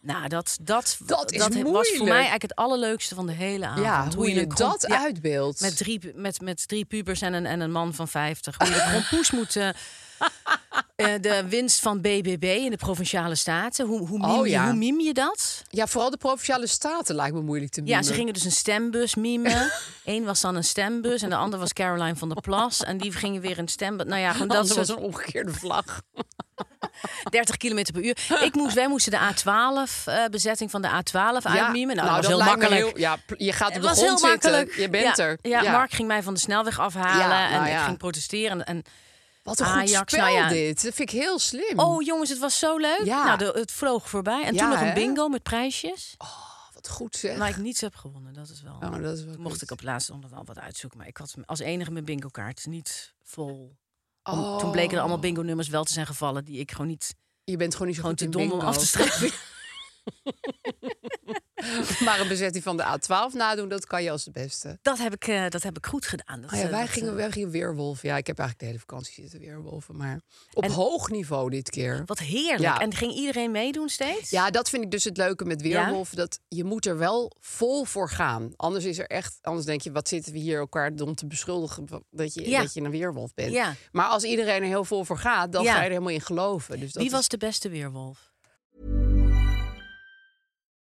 Nou, dat, dat,
Dat is
was voor mij
moeilijk.
eigenlijk het allerleukste van de hele avond.
ja hoe, je,
de krom-
dat
ja,
uitbeeldt.
Met drie, met, met drie pubers en een, en een man van 50. Hoe je
[laughs]
de krompoes moet. eh, eh, de winst van BBB in de provinciale staten. Hoe, hoe, meme,
Oh,
je,
ja.
hoe meme je dat?
Ja, vooral de provinciale staten lijkt me moeilijk te
Ja,
mimen.
ze gingen dus een stembus
[laughs]
mimen. Eén was dan een stembus en de ander was Caroline van der Plas. En die gingen weer een stembus. Nou ja, gewoon dat
Dat was
soort
een omgekeerde
[laughs]
vlag.
30 kilometer per uur. Ik moest, wij moesten de A12, eh, bezetting van de A12 uitmimen. Nou, dat was heel
lijkt me
makkelijk.
heel- ja, pl- je gaat op
Het
de
was
grond
heel
zitten.
makkelijk.
Je bent
Ja,
er.
Ja, Mark ging mij van de snelweg afhalen
Ja, nou
en ik
ja.
ging protesteren. En,
Wat een goed
Ajax,
spel
nou ja.
dit. Dat vind ik heel slim.
oh jongens, het was zo leuk.
Hmm. Ja.
Nou, de- het vloog voorbij. En
Ja,
toen nog een
hè?
bingo met prijsjes.
Wat goed zeg.
Waar ik niets heb gewonnen, dat is wel...
Oh, dat is wel
Toen mocht
goed.
ik op laatste nog wel wat uitzoeken. Maar ik had als enige mijn bingo-kaart niet vol. Om- Toen bleken er allemaal bingo-nummers wel te zijn gevallen... die ik gewoon niet...
Oh, Je bent gewoon niet zo
gewoon
goed
te
in
dom om
bingo.
af te strepen.
[laughs] Maar een bezetting van de A12 nadoen, dat kan je als het beste.
dat, heb ik, eh, dat heb ik goed gedaan. Dat,
Oh ja,
eh,
wij,
dat,
gingen,
eh,
wij gingen weerwolven. Ja, ik heb eigenlijk de hele vakantie zitten weerwolven. Maar op
En-
hoog niveau dit keer.
Wat heerlijk.
Ja.
En ging iedereen meedoen steeds?
Ja, dat vind ik dus het leuke met weerwolven. Dat je moet er wel vol voor gaan. Anders is er echt, anders denk je, wat zitten we hier elkaar om te beschuldigen van- dat je,
Ja.
dat je een weerwolf bent.
Ja.
Maar als iedereen er heel vol voor gaat, dan
Ja.
dus ga je er helemaal in geloven. Dus dat
Wie
is-
was de beste weerwolf?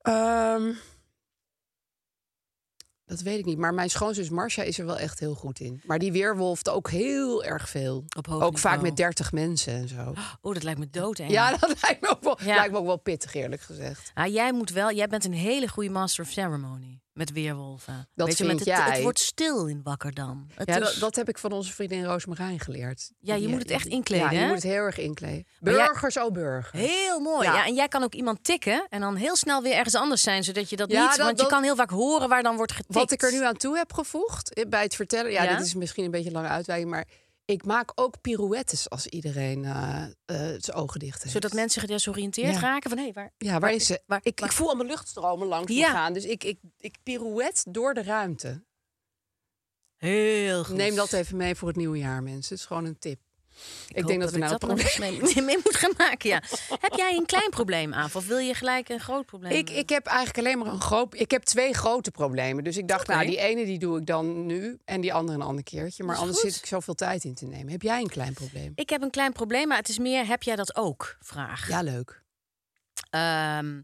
Ehm, dat weet ik niet. Maar mijn schoonzus Marcia is er wel echt heel goed in. Maar die weerwolft ook heel erg veel.
Op hoog
ook vaak
niveau.
met 30 mensen en zo.
Oh, dat lijkt me doodeng.
Ja, dat lijkt me, ook wel,
Ja.
lijkt me ook wel pittig, eerlijk gezegd.
Ah, jij moet wel, jij bent een hele goede master of ceremony met weerwolven.
Dat
Weet je, met
vind
het, het
jij.
wordt stil in Wakkerdam. Het
Ja,
is-
dat, dat heb ik van onze vriendin Roosmarijn geleerd.
Ja, je
Die,
moet
eh,
het echt inkleden,
Ja, je
hè?
moet het heel erg inkleden.
Maar jij-
Burgers, oh burgers.
Heel mooi. Ja.
Ja.
en jij kan ook iemand tikken en dan heel snel weer ergens anders zijn, zodat je dat
Ja,
niet.
dat-
want
dat-
je kan heel vaak horen waar dan wordt getikt.
Wat ik er nu aan toe heb gevoegd eh, bij het vertellen. Ja,
Ja?
dit is misschien een beetje een lange uitwijking, maar ik maak ook pirouettes als iedereen eh, eh, zijn ogen dicht heeft.
Zodat mensen gedesoriënteerd
Ja.
raken van hé, waar.
Ja, waar
waar-
is ze?
waar-
ik,
waar-
ik voel al mijn luchtstromen langs me
Ja.
gaan. Dus ik, ik, ik pirouette door de ruimte.
Heel goed.
Neem dat even mee voor het nieuwe jaar, mensen. Het is gewoon een tip. Ik,
hoop
denk dat we naar het
ik
probleem...
nog eens mee, [laughs] mee moet gaan maken. Ja. heb jij een klein probleem aan? Of wil je gelijk een groot probleem?
[laughs] Ik, ik heb eigenlijk alleen maar een groot... Ik heb twee grote problemen. Dus ik dacht,
Oké.
nou, die ene die doe ik dan nu... en die andere een ander keertje. Maar
Dat is
anders
goed.
zit ik zoveel tijd in te nemen. Heb jij een klein probleem?
Ik heb een klein probleem, maar het is meer: heb jij dat ook? Vraag.
Ja, leuk.
Ehm,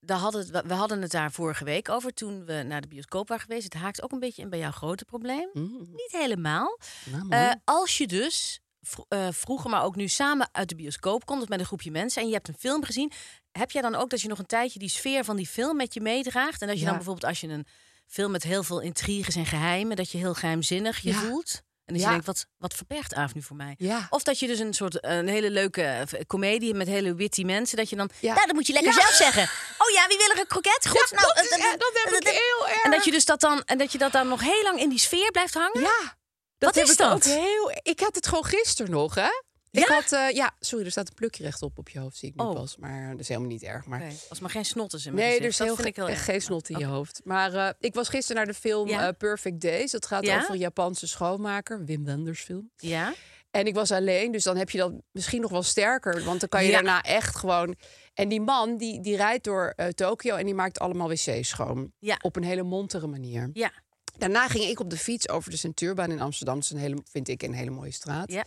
daar hadden, het- we hadden het daar vorige week over toen we naar de bioscoop waren geweest. Het haakt ook een beetje in bij jouw grote probleem. Niet helemaal.
Mm. Nou, mooi.
Eh, als je dus vro- eh, vroeger, maar ook nu samen uit de bioscoop komt of met een groepje mensen en je hebt een film gezien, heb jij dan ook dat je nog een tijdje die sfeer van die film met je meedraagt? En dat je
Ja.
dan bijvoorbeeld als je een film met heel veel intriges en geheimen, dat je heel geheimzinnig je
Ja.
voelt. En dat
Ja.
je denkt, wat, wat verbergt Aaf nu voor mij?
Ja.
Of dat je dus een soort een hele leuke eh, comedie met hele witty mensen, dat je dan,
Ja.
nou, dat moet je lekker
Ja.
zelf zeggen. Oh ja, wie wil er een kroket? Goed,
Ja,
nou,
dat, is,
eh,
eh, dat heb ik heel erg.
En dat je dus dat dan en dat je dat dan nog heel lang in die sfeer blijft hangen.
Ja.
Wat
heb
is
ik
dat?
ook heel- Ik had het gewoon gisteren nog, hè? Ik
Ja?
had, eh, ja, sorry, er staat een plukje rechtop op je hoofd, zie ik nu
Oh.
pas. Maar dat is helemaal niet erg. Maar...
Oké, Als maar geen snotters in mijn
Nee, er
gezicht. Dus
is
dat
heel,
vind ik heel
echt
erg.
geen snot in je hoofd. Maar eh, ik was gisteren naar de film
Ja?
eh, Perfect Days. Dat gaat
Ja?
over een Japanse schoonmaker, Wim Wenders film.
Ja?
En ik was alleen, dus dan heb je dat misschien nog wel sterker. Want dan kan je
Ja.
daarna echt gewoon... En die man, die, die rijdt door eh, Tokio en die maakt allemaal wc's schoon.
Ja.
Op een hele montere manier.
Ja.
Daarna ging ik op de fiets over de Centuurbaan in Amsterdam. Dat is een hele, vind ik een hele mooie straat.
Ja.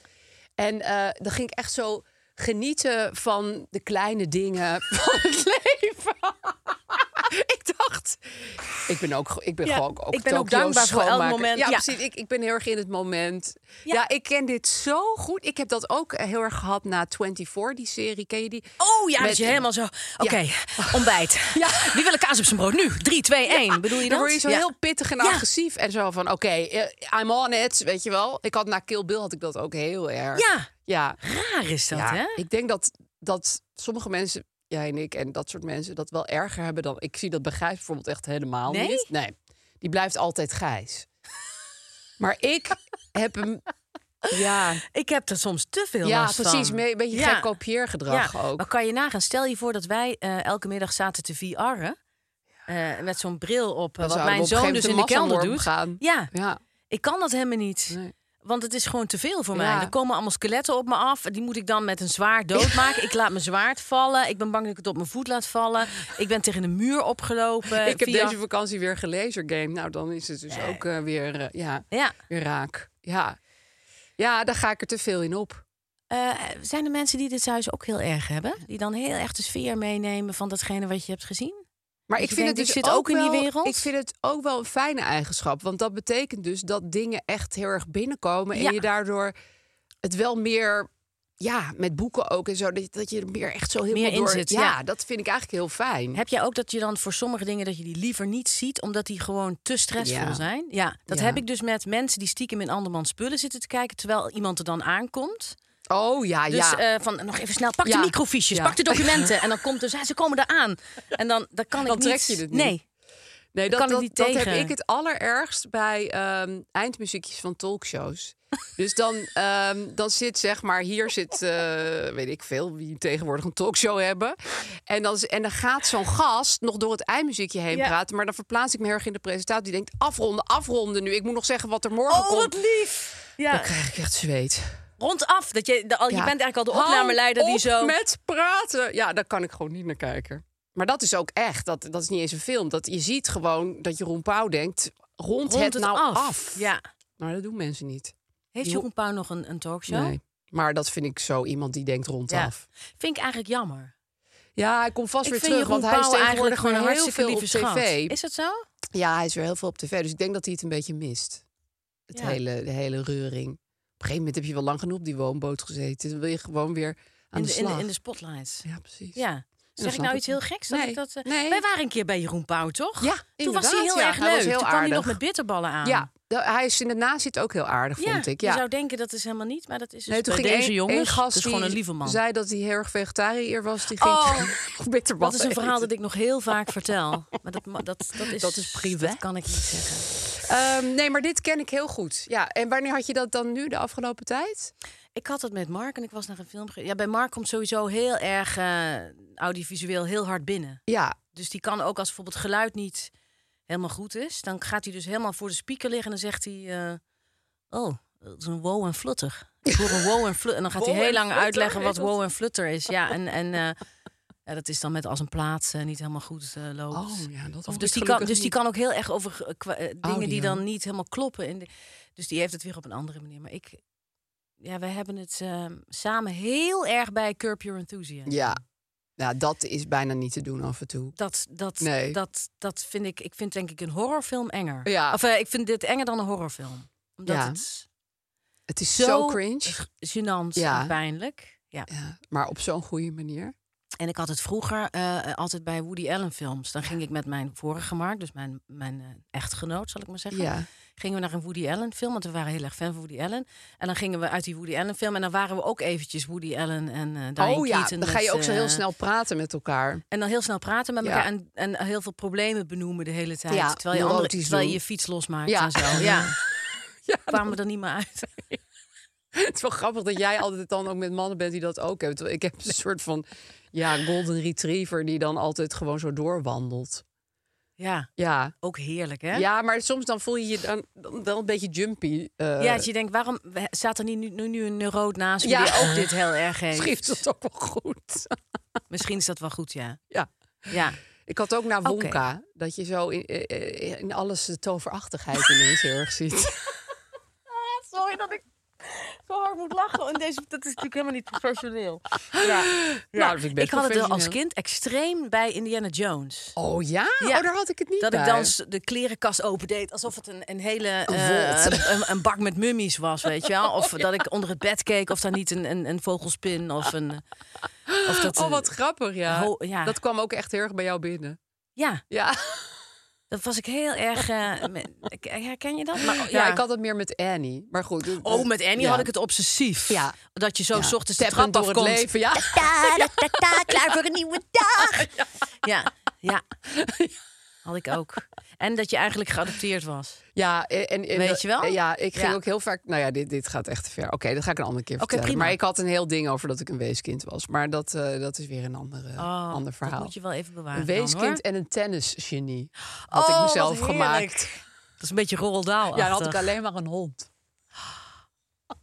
En eh, dan ging ik echt zo genieten van de kleine dingen [laughs] van het leven. [laughs] ik dacht, ik ben ook, ik ben
Ja,
gewoon ook
ik ben ook
Tokio's
dankbaar voor elk
schoonmaker.
moment,
Ja,
ja.
precies. Ik, ik ben heel erg in het moment.
Ja.
Ja. ik ken dit zo goed. Ik heb dat ook eh, heel erg gehad na 24, die serie. Ken je die?
Oh ja,
Met-
dat je helemaal zo. Oké, ontbijt.
[laughs] Ja.
Wie wil een kaas op zijn brood nu? 3, 2, 1. Bedoel je dat?
Dan word je zo
Ja.
heel pittig en
Ja.
agressief. En zo van, oké, eh, I'm on it, weet je wel. Ik had na Kill Bill had ik dat ook heel erg.
Ja,
Ja.
raar is dat,
ja.
hè?
Ik denk dat, dat sommige mensen, jij en ik en dat soort mensen... dat wel erger hebben dan... Ik zie dat bij Gijs bijvoorbeeld echt helemaal
Nee?
niet. Nee, die blijft altijd
[laughs]
Gijs. maar ik heb hem... Ja,
Ik heb er soms te veel
ja
last van.
precies. Een beetje
Ja.
gek kopieergedrag
Ja,
ook.
Maar kan je nagaan, stel je voor dat wij eh, elke middag zaten te VR'en. eh, met zo'n bril op, eh,
Dan
wat
zouden we
mijn
op een
zoon
gegeven
dus in de
moment een
kelder
massaworm
doet.
gaan.
Ja,
Ja,
ik kan dat helemaal niet.
nee.
Want het is gewoon te veel voor mij.
Ja.
Er komen allemaal skeletten op me af. Die moet ik dan met een zwaard doodmaken. ik laat
[laughs]
mijn zwaard vallen. Ik ben bang dat ik het op mijn voet laat vallen. Ik ben tegen de muur opgelopen.
[laughs] ik heb
Eh, via-
deze vakantie weer gelezen game. Nou, dan is het dus ook eh, weer, eh, ja,
Ja.
weer raak. Ja. ja, daar ga ik er te veel in op.
Eh, zijn er mensen die dit thuis ook heel erg hebben? Die dan heel echt de sfeer meenemen van datgene wat je hebt gezien?
Maar
Dat
ik
je
vind
denkt,
het dus
ik zit ook in die
wel-
wereld?
Ik vind het ook wel een fijne eigenschap. Want dat betekent dus dat dingen echt heel erg binnenkomen.
Ja.
En je daardoor het wel meer. Ja, met boeken ook en zo. Dat je, dat je er meer echt zo heel
Meer
veel
in
door...
zit, ja.
dat vind ik eigenlijk heel fijn.
Heb jij ook dat je dan voor sommige dingen dat je die liever niet ziet, omdat die gewoon te stressvol
Ja.
zijn? Ja, dat
Ja.
heb ik dus met mensen die stiekem in andermans spullen zitten te kijken, terwijl iemand er dan aankomt.
Oh ja,
Dus
ja.
eh, van nog even snel, pak
Ja.
de microfiches,
Ja.
pak de documenten. en dan komt dus, ja, ze komen eraan. En dan, dat kan
Dan
ik
trek
niet.
je het niet.
Nee.
Nee,
Ik
dat,
kan het
dat,
niet
dat
tegen.
heb ik het allerergst bij ehm, eindmuziekjes van
[laughs]
talkshows. Dus dan, ehm, dan zit zeg maar, hier zit, eh, weet ik veel, wie tegenwoordig een talkshow hebben. En dan, is- en dan gaat zo'n gast nog door het eindmuziekje heen
Ja.
praten. Maar dan verplaats ik me heel erg in de presentatie. Die denkt, afronden, afronden nu. Ik moet nog zeggen wat er morgen
Oh,
komt.
wat lief!
Dan
Ja,
krijg ik echt zweet.
rondaf. Dat je, de- al, je
Ja.
bent eigenlijk al de
Hou
opnameleider die
op
zo...
met praten. Ja, daar kan ik gewoon niet naar kijken. Maar dat is ook echt. Dat, dat is niet eens een film. Dat, je ziet gewoon dat Jeroen Pauw denkt... Rond,
rond
het, nou af.
Ja.
Maar dat doen mensen niet.
Heeft
Jo-
Jeroen Pauw nog een, een talkshow?
Nee. Maar dat vind ik zo iemand die denkt
Ja.
rondaf. Ja,
Vind ik eigenlijk jammer.
hij komt vast
Ik
weer
vind
terug.
Jeroen
want hij is
Pauw eigenlijk
tegenwoordig
gewoon een
weer heel
hartstikke
veel op
lieve
tv.
schat. Is dat zo?
Ja, hij is weer heel veel op tv. Dus ik denk dat hij het een beetje mist. Het
Ja.
hele, de hele reuring. Op een gegeven moment heb je wel lang genoeg op die woonboot gezeten. Dan wil je gewoon weer aan
In
de,
de, in, de,
slag.
in de spotlights.
Ja, precies.
Ja. Zeg ik
snap
nou
ik
iets heel
wel.
geks? Dat
Nee,
ik dat, eh,
nee.
Wij waren een keer bij Jeroen Pauw, toch?
Ja,
Toen was hij
inderdaad,
heel
ja.
erg
Hij
leuk.
was heel
Toen kwam hij nog
aardig.
met bitterballen aan.
Ja, de- hij is inderdaad zit ook heel aardig,
Ja,
vond ik. Ja.
Je zou denken dat is helemaal niet, maar dat is dus
Nee, toen
bij
ging
deze
één-
jongens.
één gast
dat is gewoon
die
een lieve man.
zei dat hij heel erg vegetariër was. Die ging [laughs]
Oh,
terug bitterballen
dat is een verhaal
eten.
dat ik nog heel vaak vertel. Maar dat, ma- dat, dat, is,
eh, Dat is privé.
Dat kan ik niet zeggen.
Ehm, nee, maar dit ken ik heel goed. Ja, en wanneer had je dat dan nu de afgelopen tijd?
Ik had dat met Mark en ik was naar een film. ge- Ja, bij Mark komt sowieso heel erg eh, audiovisueel heel hard binnen.
Ja,
Dus die kan ook als bijvoorbeeld geluid niet helemaal goed is, dan gaat hij dus helemaal voor de speaker liggen en dan zegt hij: eh, Oh, dat is een wow en flutter. Ik hoor een wow en flutter. En dan gaat hij
Wow
heel
en
lang
flutter,
uitleggen wat
heet dat?
wow en flutter is. Ja, en, en eh, ja, dat is dan met als een plaats eh, niet helemaal goed eh, loopt.
Oh, ja, dat hoor
of
ik
dus, die kan,
gelukkig
dus die
niet. Oh,
kan ook heel erg over eh, kwa- eh, dingen die
Audio.
dan niet helemaal kloppen. En de- dus die heeft het weer op een andere manier. Maar ik, ja, wij hebben het eh, samen heel erg bij Curb Your Enthusiasm.
ja. Ja, dat is bijna niet te doen af en toe.
Dat, dat,
Nee.
dat, dat vind ik. Ik vind denk ik een horrorfilm enger.
Ja.
Of eh, ik vind dit enger dan een horrorfilm. Omdat
Ja.
het
Het is
zo,
zo, cringe.
gênant
Ja.
en pijnlijk. Ja.
Ja, maar op zo'n goede manier.
En ik had het vroeger eh, altijd bij Woody Allen films. Dan ging ik met mijn vorige Mark, dus mijn, mijn eh, echtgenoot, zal ik maar zeggen.
Ja.
Gingen we naar een Woody Allen film, want we waren heel erg fan van Woody Allen. En dan gingen we uit die Woody Allen film en dan waren we ook eventjes Woody Allen en eh Diane
oh ja,
Keaton
dan ga je
met,
ook zo heel
eh,
snel praten met elkaar.
En dan heel snel praten met
Ja.
elkaar en, en heel veel problemen benoemen de hele tijd.
Ja,
terwijl, je andere,
neurotisch
terwijl je
doen.
je fiets losmaakt
Ja.
en zo. [laughs] Ja,
Ja,
kwamen we er niet meer uit. [laughs]
Het is wel grappig dat jij altijd dan ook met mannen bent die dat ook hebben. Terwijl Ik heb een soort van ja, golden retriever die dan altijd gewoon zo doorwandelt.
Ja,
Ja.
ook heerlijk hè?
Ja, maar soms dan voel je je dan, dan wel een beetje jumpy. eh [laughs]
Ja, dat je denkt, waarom we- staat er niet nu, nu, nu een neuroot naast me
Ja.
die ook dit heel erg heeft?
schreef dat ook wel goed. [laughs]
Misschien is dat wel goed, [laughs] ja.
ja.
Ja,
Ik had ook naar
Oké.
Wonka dat je zo in, eh, eh, in alles de toverachtigheid ineens heel erg ziet.
[laughs] Sorry dat ik zo hard moet lachen. En deze, dat is natuurlijk helemaal niet professioneel. Ja. dus
Nou, dat vind ik best
had het wel als
professioneel.
kind extreem bij Indiana Jones.
Oh ja?
Ja.
Oh, daar had ik het niet
Dat ik
bij.
dan s- de klerenkast opendeed alsof het een, een hele eh,
volt.
een, een bak met mummies was, weet je wel? Of dat ik onder het bed keek of daar niet een, een, een vogelspin of een. eh, Of dat,
Oh, wat grappig, ja.
Ho- ja.
Dat kwam ook echt heel erg bij jou binnen.
Ja,
Ja,
dat was ik heel erg. eh, me- ik- herken je dat? Maar, ja,
ja. ik had het meer met Annie. Maar goed. dit-
Oh, met Annie
ja.
had ik het obsessief.
Ja.
Dat je zo
Ja,
s ochtends de
tapperend
trap
door het
afkomt.
leven, ja.
Ta, da, da, da, klaar voor een nieuwe dag. Ja,
[laughs]
ja. Had ik ook. En dat je eigenlijk geadopteerd was.
[laughs] Ja, en, en- en-
Weet je wel?
Ja, ik ging
Ja.
ook heel vaak. Nou ja, dit, dit gaat echt te ver. Oké, dat ga ik een andere keer
Oké,
vertellen.
prima.
Maar ik had een heel ding over dat ik een weeskind was. Maar dat, eh, dat is weer een andere,
Oh,
ander verhaal.
Dat moet je wel even bewaren.
een
dan,
weeskind
hoor.
en een tennisgenie had
Oh,
ik
wat
mezelf
heerlijk.
gemaakt.
Dat is een beetje Roald Dahl.
Ja, dan had ik alleen maar een hond. [gasps]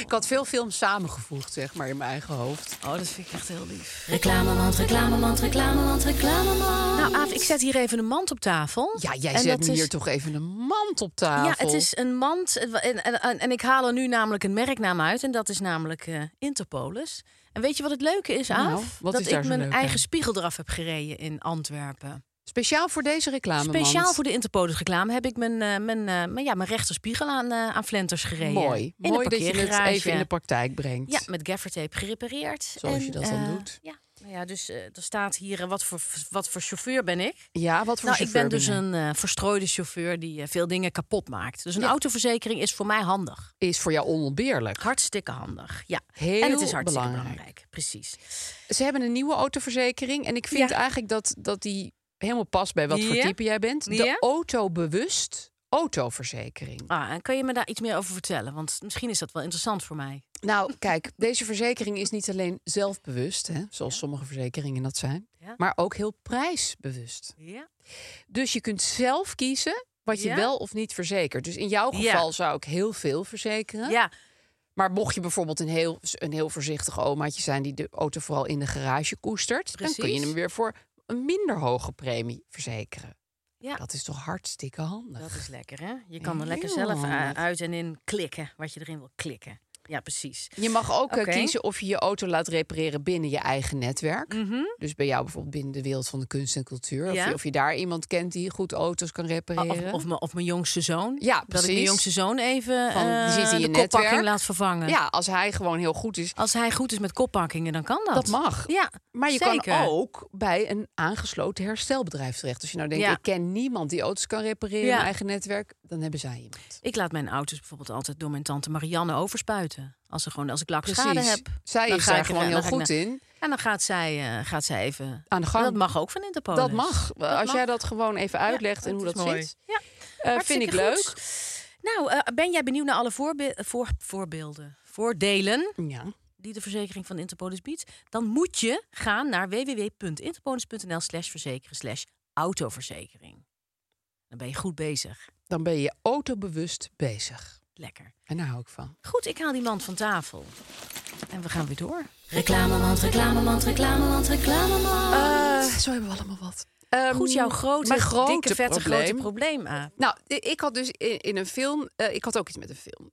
Ik had veel films samengevoegd, zeg maar, in mijn eigen hoofd.
Oh, dat vind ik echt heel lief.
Reclamemand, reclamemand, reclamemand, reclamemand.
Nou, Aaf, ik zet hier even een mand op tafel.
Ja, jij
En
zet
dat
nu
is-
hier toch even een mand op tafel.
Ja, het is een mand. En, en, en, en ik haal er nu namelijk een merknaam uit. En dat is namelijk eh, Interpolis. En weet je wat het leuke is, Aaf?
Nou, wat
dat
is daar
ik
zo
mijn
leuk aan?
eigen spiegel eraf heb gereden in Antwerpen.
Speciaal voor deze reclame.
Speciaal voor de Interpolis reclame heb ik mijn, eh, mijn, eh, mijn, ja, mijn rechterspiegel aan, eh, aan flenters gereden.
Mooi.
In
Mooi
een
dat je het
parkeergarage.
even in de praktijk brengt.
Ja, met gaffertape gerepareerd.
Zoals je dat dan
eh,
doet.
Ja, nou ja dus eh, er staat hier eh, wat, voor, wat voor chauffeur ben ik.
Ja, wat voor
nou, ik ben
chauffeur
dus
jij?
een eh, verstrooide chauffeur die eh, veel dingen kapot maakt. Dus een autoverzekering is voor mij handig.
Is voor jou onontbeerlijk.
Hartstikke handig. Ja.
Heel
en het is hartstikke
belangrijk.
belangrijk. Precies.
Ze hebben een nieuwe autoverzekering. En ik vind
Ja.
eigenlijk dat, dat die helemaal past bij wat voor
Ja.
type jij bent.
Ja.
De autobewust autoverzekering.
Ah, en kan je me daar iets meer over vertellen? Want misschien is dat wel interessant voor mij.
Nou, kijk, deze verzekering is niet alleen zelfbewust, hè, zoals sommige verzekeringen dat zijn,
Ja.
maar ook heel prijsbewust.
Ja.
Dus je kunt zelf kiezen wat je
Ja.
wel of niet verzekert. Dus in jouw
Ja.
geval zou ik heel veel verzekeren.
Ja.
Maar mocht je bijvoorbeeld een heel, een heel voorzichtig omaatje zijn die de auto vooral in de garage koestert, dan kun je
Precies.
hem weer voor een minder hoge premie verzekeren.
Ja.
Dat is toch hartstikke handig.
Dat is lekker, hè? Je kan er
Heel
lekker zelf eh,
handig.
uit en in klikken wat je erin wil klikken. Ja, precies.
Je mag ook eh,
Oké.
kiezen of je je auto laat repareren binnen je eigen netwerk. Dus bij jou bijvoorbeeld binnen de wereld van de kunst en cultuur. Of,
Mhm. Ja. Oh,
je, of je daar iemand kent die goed auto's kan repareren.
Of, of, mijn- of mijn jongste zoon.
Ja,
Dat ik mijn
precies.
jongste zoon even
Van, die
eh,
zit in je
de koppakking
netwerk.
laat vervangen.
ja, als hij gewoon heel goed is.
Als hij goed is met koppakkingen, dan kan dat.
Dat mag.
Ja,
Maar je
zeker.
kan ook bij een aangesloten herstelbedrijf terecht. Als je nou denkt,
Ja.
ik ken niemand die auto's kan repareren in
Ja.
mijn eigen netwerk, dan hebben zij iemand.
Ik laat mijn auto's bijvoorbeeld altijd door mijn tante Marianne overspuiten. Als, ze gewoon, als ik lakschade heb.
Zij
dan
is
ga
daar
ik er-
gewoon heel
dan ga ik
goed
naar-
in.
En dan gaat zij, eh, gaat zij even...
Aan de gang.
Dat mag ook van Interpol.
Dat mag. Als jij dat gewoon even uitlegt
Ja,
en hoe dat
is mooi.
zit.
Ja,
eh, vind
hartstikke
ik
goed.
leuk.
Nou, eh, ben jij benieuwd naar alle voorbe- voor- voorbeelden, voordelen
Ja.
die de verzekering van Interpolis biedt? Dan moet je gaan naar www.interpolis.nl slash verzekeren slash autoverzekering. Dan ben je goed bezig.
Dan ben je autobewust bezig.
Lekker.
En daar hou ik van.
Goed, ik haal die man van tafel. En we gaan weer door.
Reclamemand, reclamemand, reclamemand, reclamemand.
Eh, zo hebben we allemaal wat. Ehm,
Goed, jouw grote,
mijn grote
dikke, vette, grote
probleem.
probleem, Aap.
Nou, i- ik had dus in, in een film... eh, ik had ook iets met een film.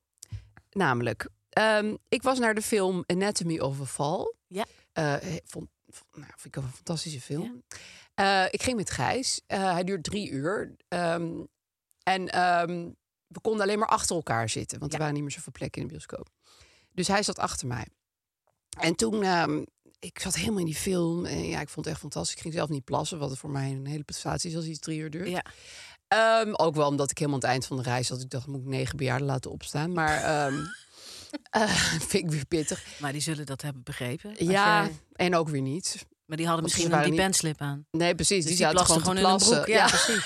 Namelijk, ehm, ik was naar de film Anatomy of a Fall.
Ja.
Eh, he- vond, vond- nou, vind ik wel een fantastische film. Eh, ik ging met Gijs. Eh, hij duurt drie uur. Ehm, en ehm, we konden alleen maar achter elkaar zitten. Want er waren niet meer zoveel plekken in de bioscoop. Dus hij zat achter mij. En toen, ehm, ik zat helemaal in die film. En ja, ik vond het echt fantastisch. Ik ging zelf niet plassen, wat voor mij een hele prestatie is als iets drie uur duurt.
Ja.
Ehm, ook wel omdat ik helemaal aan het eind van de reis had. Ik dacht, moet ik negen bejaarden laten opstaan.
[laughs]
Maar ehm eh, [laughs] vind ik weer pittig.
Maar die zullen dat hebben begrepen. Als
Ja,
jij-
en ook weer niet.
Maar die hadden
Want ze
misschien een
waren
die
niet-
penslip aan.
Nee,
Dus
precies. die zaten
plasten
gewoon, te plassen.
in een broek. Ja, precies.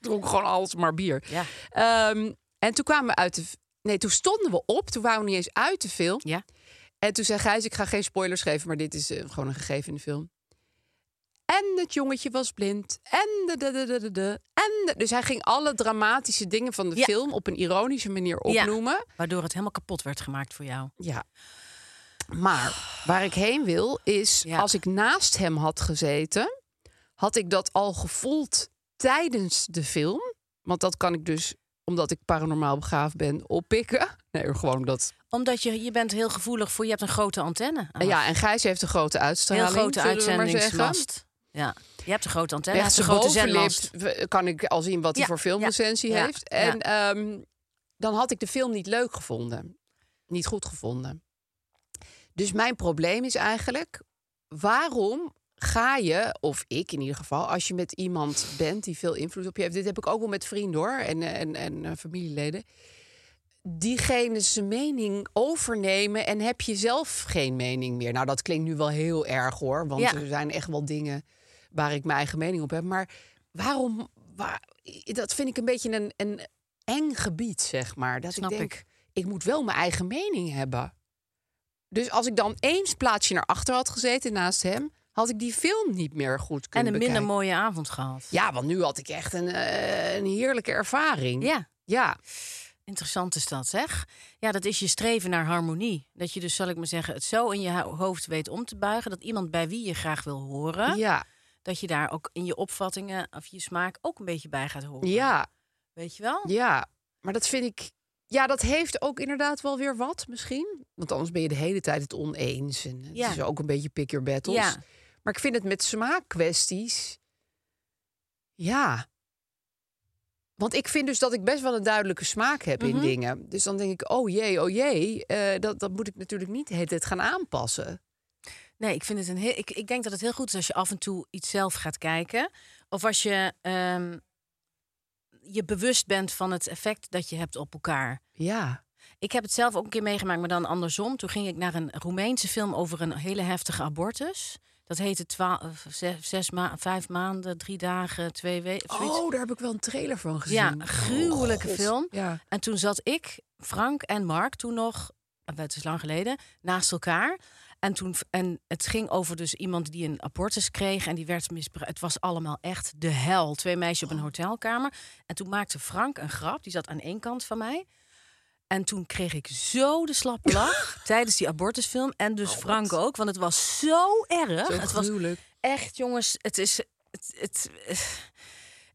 dronk gewoon alles maar bier.
Ja.
Ehm, en toen kwamen we uit de... Nee, toen stonden we op. Toen waren we niet eens uit de film.
Ja.
En toen zei Gijs, ik ga geen spoilers geven, maar dit is eh, gewoon een gegeven in de film. En het jongetje was blind. En de, de, de, de, de, de- en de- Dus hij ging alle dramatische dingen van de
Ja.
film op een ironische manier opnoemen.
Waardoor het helemaal kapot werd gemaakt voor jou.
Ja. Maar waar ik heen wil is,
Ja.
als ik naast hem had gezeten, had ik dat al gevoeld tijdens de film. Want dat kan ik dus, omdat ik paranormaal begaafd ben, oppikken. Nee, gewoon dat.
Omdat je, je bent heel gevoelig voor... Je hebt een grote antenne. Aaf.
Ja, en Gijs heeft een grote uitstraling.
Ah. heel grote
zullen we maar zeggen.
uitzendingsmast. Ja. Je hebt een grote antenne. Echt
Echt
een
zijn
grote
bovenlip
zendmast.
w- kan ik al zien wat hij
Ja,
voor
ja,
filmrecensie
ja,
heeft.
ja.
En ehm, dan had ik de film niet leuk gevonden. Niet goed gevonden. Dus mijn probleem is eigenlijk... waarom ga je, of ik in ieder geval... als je met iemand bent die veel invloed op je heeft... dit heb ik ook wel met vrienden hoor, en, eh, en, en eh, familieleden... diegene zijn mening overnemen en heb je zelf geen mening meer. Nou, dat klinkt nu wel heel erg hoor. Want
Ja.
er zijn echt wel dingen waar ik mijn eigen mening op heb. Maar waarom... Waar, dat vind ik een beetje een, een eng gebied, zeg maar. Dat
Snap
ik denk,
ik.
ik moet wel mijn eigen mening hebben. Dus als ik dan eens plaatsje naar achter had gezeten naast hem, had ik die film niet meer goed
En
kunnen
een minder
bekijken.
mooie avond gehad.
Ja, want nu had ik echt een, eh, een heerlijke ervaring.
Ja,
Ja,
interessant is dat, zeg. Ja, dat is je streven naar harmonie. Dat je dus, zal ik maar zeggen, het zo in je ho- hoofd weet om te buigen... dat iemand bij wie je graag wil horen...
ja,
dat je daar ook in je opvattingen of je smaak ook een beetje bij gaat horen.
ja,
Weet je wel?
ja. Maar dat vind ik... Ja, dat heeft ook inderdaad wel weer wat misschien. Want anders ben je de hele tijd het oneens. En het
Ja.
is ook een beetje pick your battles.
Ja.
Maar ik vind het met smaakkwesties... Ja. Want ik vind dus dat ik best wel een duidelijke smaak heb in dingen. Dus dan denk ik, oh jee, oh jee. eh, dat, dat moet ik natuurlijk niet de hele tijd gaan aanpassen.
Nee, ik vind het een heel. Ik, ik denk dat het heel goed is als je af en toe iets zelf gaat kijken. Of als je ehm, je bewust bent van het effect dat je hebt op elkaar.
Ja.
Ik heb het zelf ook een keer meegemaakt, maar dan andersom. Toen ging ik naar een Roemeense film over een hele heftige abortus. Dat heette 12, zes, zes ma vijf maanden, drie dagen, twee weken.
Oh, daar heb ik wel een trailer van gezien.
ja, een gruwelijke
God.
film.
Ja.
En toen zat ik, Frank en Mark toen nog, eh, het is lang geleden, naast elkaar. En, toen, en het ging over dus iemand die een abortus kreeg en die werd misbruikt. Het was allemaal echt de hel. Twee meisjes
Oh.
op een hotelkamer. En toen maakte Frank een grap, die zat aan één kant van mij. En toen kreeg ik zo de slappe
[laughs]
lach tijdens die abortusfilm. En dus Frank ook, want het was zo erg.
Oh, Zo
het was
gruwelijk.
echt, jongens, het is... Het, het, eh.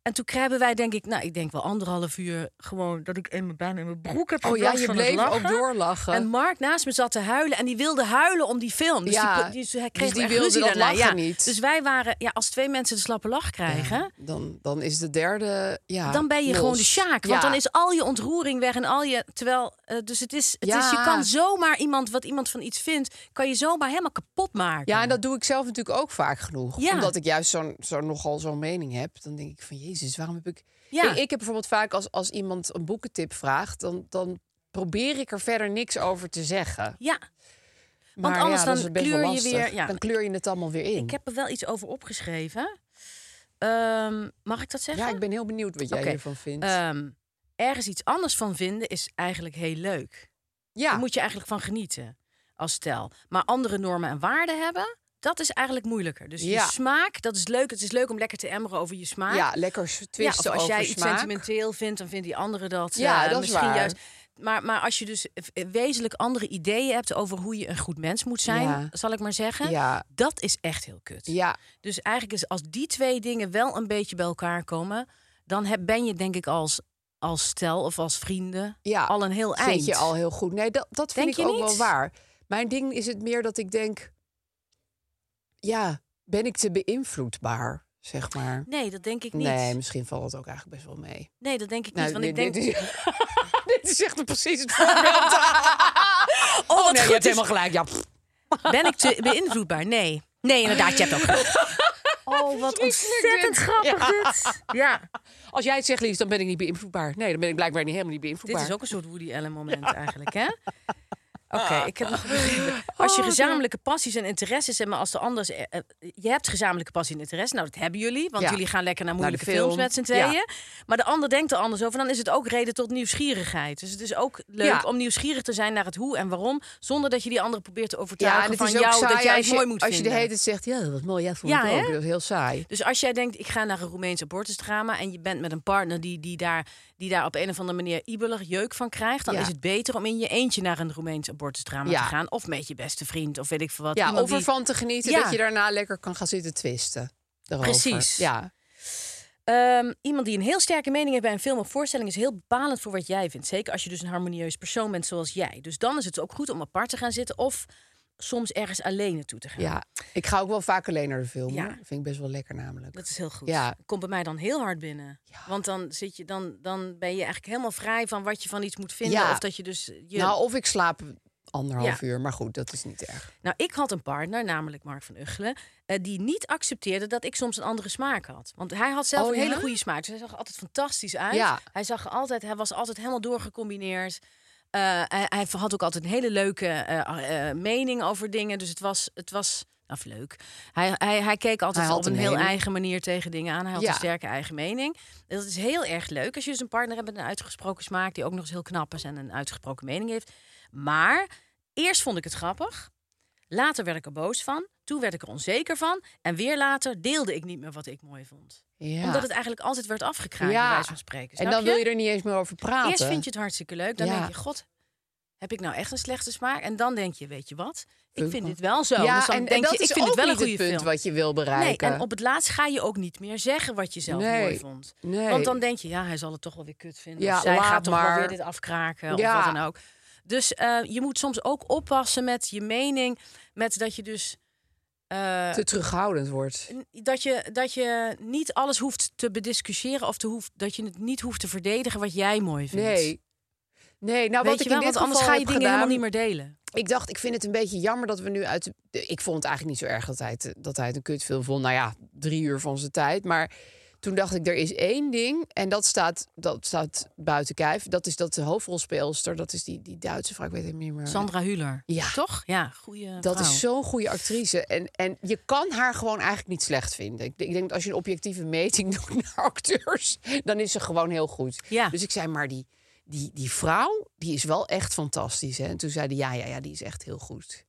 en toen krijgen wij, denk ik, nou, ik denk wel anderhalf uur gewoon dat ik in mijn bijna in mijn broek heb
Oh ja,
geplast
je
van het
bleef ook
lachen.
doorlachen.
En Mark naast me zat te huilen en die wilde huilen om die film. Dus
Ja,
die, die, hij kreeg
dus die
echt
wilde
ruzie
dat
daarna,
lachen
ja.
niet.
Dus wij waren, ja, als twee mensen de slappe lach krijgen,
dan, dan is de derde. Ja,
dan ben je
los.
gewoon de Sjaak. Want
Ja.
dan is al je ontroering weg en al je. Terwijl, eh, dus het is, het is, je
Ja.
kan zomaar iemand, wat iemand van iets vindt, kan je zomaar helemaal kapot maken.
Ja, en dat doe ik zelf natuurlijk ook vaak genoeg.
Ja.
Omdat ik juist zo'n, zo nogal zo'n mening heb. Dan denk ik van, jezus, waarom heb ik...
Ja.
Ik, ik heb bijvoorbeeld vaak als, als iemand een boekentip vraagt... Dan, dan probeer ik er verder niks over te zeggen.
ja.
Maar ja,
anders
dat
dan
is best wel
kleur je
lastig.
weer- ja.
Dan kleur je het allemaal weer in.
Ik heb er wel iets over opgeschreven. Ehm, mag ik dat zeggen?
Ja, ik ben heel benieuwd wat jij
Oké.
hiervan vindt.
Ehm, ergens iets anders van vinden is eigenlijk heel leuk.
ja,
Daar moet je eigenlijk van genieten als stel. Maar andere normen en waarden hebben, dat is eigenlijk moeilijker. Dus
Ja.
je smaak, dat is leuk. Het is leuk om lekker te emmeren over je smaak.
ja, lekker s-
Ja,
twisten
of als
over
jij iets
smaak.
sentimenteel vindt, dan vindt die andere dat.
Ja,
eh,
dat is
misschien
waar.
juist. Maar, maar als je dus eh, wezenlijk andere ideeën hebt over hoe je een goed mens moet zijn,
Ja.
zal ik maar zeggen,
Ja.
dat is echt heel kut.
Ja,
Dus eigenlijk is als die twee dingen wel een beetje bij elkaar komen, dan heb, ben je denk ik als, als stel of als vrienden
ja.
al een heel
Zit
eind.
je al heel goed. Nee, dat, dat vind
Denk
ik
je
ook wel
niet?
waar. Mijn ding is het meer dat ik denk... Ja, ben ik te beïnvloedbaar, zeg maar?
Nee, dat denk ik niet.
Nee,
Nee,
misschien valt het ook eigenlijk best wel mee.
dat denk ik
Nou,
niet. Want ik
dit-
denk.
dit, is, [laughs] dit is echt precies het
[laughs]
voorbeeld.
oh, wat
nee, je
goed
hebt
is.
helemaal gelijk. Ja, pff.
Ben ik te beïnvloedbaar? Nee. Nee, inderdaad, je hebt ook
[laughs]
gelijk. Oh, wat ontzettend grappig dit. Ja.
Als jij het zegt, Lies, dan ben ik niet beïnvloedbaar. Nee, dan ben ik blijkbaar niet helemaal niet beïnvloedbaar.
Dit is ook een soort Woody Allen moment eigenlijk,
[laughs]
hè? Oké,
Ah.
ik heb nog [laughs] begrepen. Als
Oh,
je gezamenlijke passies en interesses hebt, maar als de anders... eh, eh, je hebt gezamenlijke passie en interesse, nou dat hebben jullie. Want
Ja.
jullie gaan lekker naar
Naar de
moeilijke films
film,
met z'n
ja.
tweeën. Maar de ander denkt er anders over. Dan is het ook reden tot nieuwsgierigheid. Dus het is ook leuk
Ja.
om nieuwsgierig te zijn naar het hoe en waarom. Zonder dat je die andere probeert te
ja,
overtuigen
en het
van
is ook
jou
saai
dat jij
als
het
je,
mooi moet
als je de
vinden.
hele tijd zegt, ja, dat was mooi, ja, dat vond
Ja,
ik ook.
hè?
Dat is heel saai.
Dus als jij denkt, ik ga naar een Roemeens abortusdrama... en je bent met een partner die, die, daar, die daar op een of andere manier ibelig jeuk van krijgt... dan
Ja.
is het beter om in je eentje naar een Roemeens abortusdrama
Ja,
te gaan. Of met je beste vriend, of weet ik veel wat.
Ja,
Iemand
of
die-
ervan te genieten
Ja.
dat je daarna lekker kan gaan zitten twisten. Daarover.
Precies.
Ja.
Ehm, iemand die een heel sterke mening heeft bij een film of voorstelling... is heel bepalend voor wat jij vindt. Zeker als je dus een harmonieus persoon bent zoals jij. Dus dan is het ook goed om apart te gaan zitten... of soms ergens alleen naartoe te gaan.
ja, ik ga ook wel vaak alleen naar de film.
Ja.
hoor. Dat vind ik best wel lekker namelijk.
Dat is heel goed.
Ja.
Komt bij mij dan heel hard binnen. Want dan, zit je, dan, dan ben je eigenlijk helemaal vrij van wat je van iets moet vinden.
Ja.
Of dat je dus je
Nou, of ik slaap anderhalf
Ja.
uur, maar goed, dat is niet erg.
Nou, ik had een partner, namelijk Mark van Uggelen, eh, die niet accepteerde dat ik soms een andere smaak had. Want hij had zelf
Oh,
een
ja?
hele goede smaak. Dus hij zag er altijd fantastisch uit.
Ja.
Hij, zag er altijd, hij was altijd helemaal doorgecombineerd. Eh, hij, hij had ook altijd een hele leuke eh, eh, mening over dingen. Dus het was, het was of leuk. Hij, hij, hij keek altijd
Hij had
op een
een
heel
mening.
eigen manier tegen dingen aan. Hij had
Ja.
een sterke eigen mening. En dat is heel erg leuk als je dus een partner hebt met een uitgesproken smaak... die ook nog eens heel knap is en een uitgesproken mening heeft. Maar eerst vond ik het grappig. Later werd ik er boos van. Toen werd ik er onzeker van. En weer later deelde ik niet meer wat ik mooi vond.
Ja.
Omdat het eigenlijk altijd werd afgekraaid, bij wijze van spreken.
en
snap
dan wil je er niet eens meer over praten.
Eerst vind je het hartstikke leuk. Dan
Ja.
denk je, god, heb ik nou echt een slechte smaak? En dan denk je, weet je wat? Ik
Punt
vind
maar.
dit wel zo.
Ja,
dus dan
en, en
denk je,
dat
ik
is
vind
ook
het wel
niet
een goede
punt
film.
wat je wil
Nee,
bereiken.
en op het laatst ga je ook niet meer zeggen wat je zelf
Nee.
mooi vond.
Nee.
Want dan denk je, ja, hij zal het toch wel weer kut vinden.
Ja,
of zij
laat
gaat toch wel
maar.
weer dit afkraken of
Ja.
wat dan ook. Dus eh, je moet soms ook oppassen met je mening. Met dat je dus... eh,
te terughoudend wordt.
n- dat je, dat je niet alles hoeft te bediscussiëren of te hoef, dat je het niet hoeft te verdedigen wat jij mooi vindt.
Nee. Nee, nou
Weet
wat
je
ik
wel,
in dit
want anders
geval
ga je
heb
dingen
gedaan,
helemaal niet meer delen.
Ik dacht, ik vind het een beetje jammer dat we nu uit... de- de- ik vond het eigenlijk niet zo erg dat hij het, dat hij het een kutfilm vond. Nou ja, drie uur van zijn tijd. Maar Toen dacht ik, er is één ding en dat staat, dat staat buiten kijf. Dat is dat de hoofdrolspeelster, dat is die, die Duitse vrouw, ik weet het niet meer.
Sandra Hüller.
Ja.
Toch? Ja, goede
Dat is zo'n goede actrice. En, en je kan haar gewoon eigenlijk niet slecht vinden. Ik, denk- ik denk dat als je een objectieve meting [laughs] doet naar acteurs, dan is ze gewoon heel goed.
Ja.
Dus ik zei, maar die, die, die vrouw, die is wel echt fantastisch. Hè? En toen zei hij, ja, ja, ja, die is echt heel goed.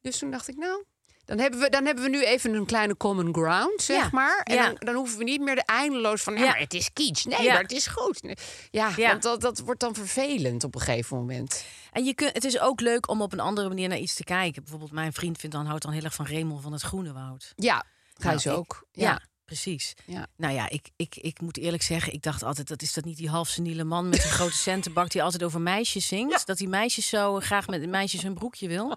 Dus toen dacht ik, nou, dan hebben we, dan hebben we nu even een kleine common ground, zeg
Ja,
maar. En
ja.
dan, dan hoeven we niet meer de eindeloos van, nou,
Ja.
maar het is kitsch. Nee,
Ja.
maar het is goed. Nee. Ja,
Ja.
want dat, dat wordt dan vervelend op een gegeven moment.
En je kunt, het is ook leuk om op een andere manier naar iets te kijken. Bijvoorbeeld mijn vriend vindt dan, houdt dan heel erg van Remel van het Groene Woud.
Ja,
Nou,
Gijs
ik-
ook.
Ja, precies.
Ja.
Nou ja, ik, ik, ik moet eerlijk zeggen, ik dacht altijd... dat is dat niet die half seniele man
[laughs]
met die grote centenbak... die altijd over meisjes zingt? Dat die meisjes zo graag met meisjes hun broekje wil?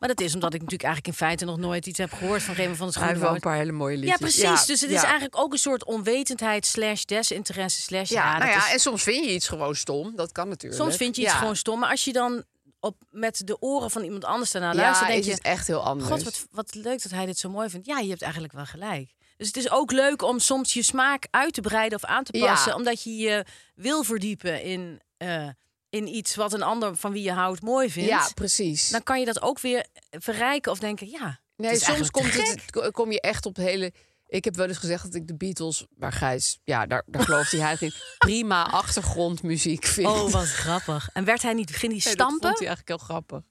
Maar dat is omdat ik natuurlijk eigenlijk in feite nog nooit iets heb gehoord... van Raymond van het
Hij heeft wel een
Schoenenwoud.
paar hele mooie
Ja,
liedjes.
precies. dus het is
ja.
eigenlijk ook een soort onwetendheid... slash desinteresse slash...
Ja,
dat
nou ja,
is-
en soms vind je iets gewoon stom. Dat kan natuurlijk.
soms vind je iets
Ja.
gewoon stom. Maar als je dan op, met de oren van iemand anders daarna
Ja,
luistert... denk
is
je,
het echt heel anders.
God, wat, wat leuk dat hij dit zo mooi vindt. Ja, je hebt eigenlijk wel gelijk. Dus het is ook leuk om soms je smaak uit te breiden of aan te
Ja.
passen. Omdat je je wil verdiepen in, eh, in iets wat een ander van wie je houdt mooi vindt.
ja, precies.
Dan kan je dat ook weer verrijken of denken, ja.
nee,
het is
soms
eigenlijk te
komt
gek.
[laughs] het, ko- kom je echt op hele... Ik heb wel eens gezegd dat ik de Beatles, maar Gijs, ja, daar, daar gelooft hij eigenlijk
[laughs]
in, prima achtergrondmuziek vind.
Oh, wat grappig. En werd hij niet, ging hij
Nee, dat vond
stampen?
hij eigenlijk heel grappig.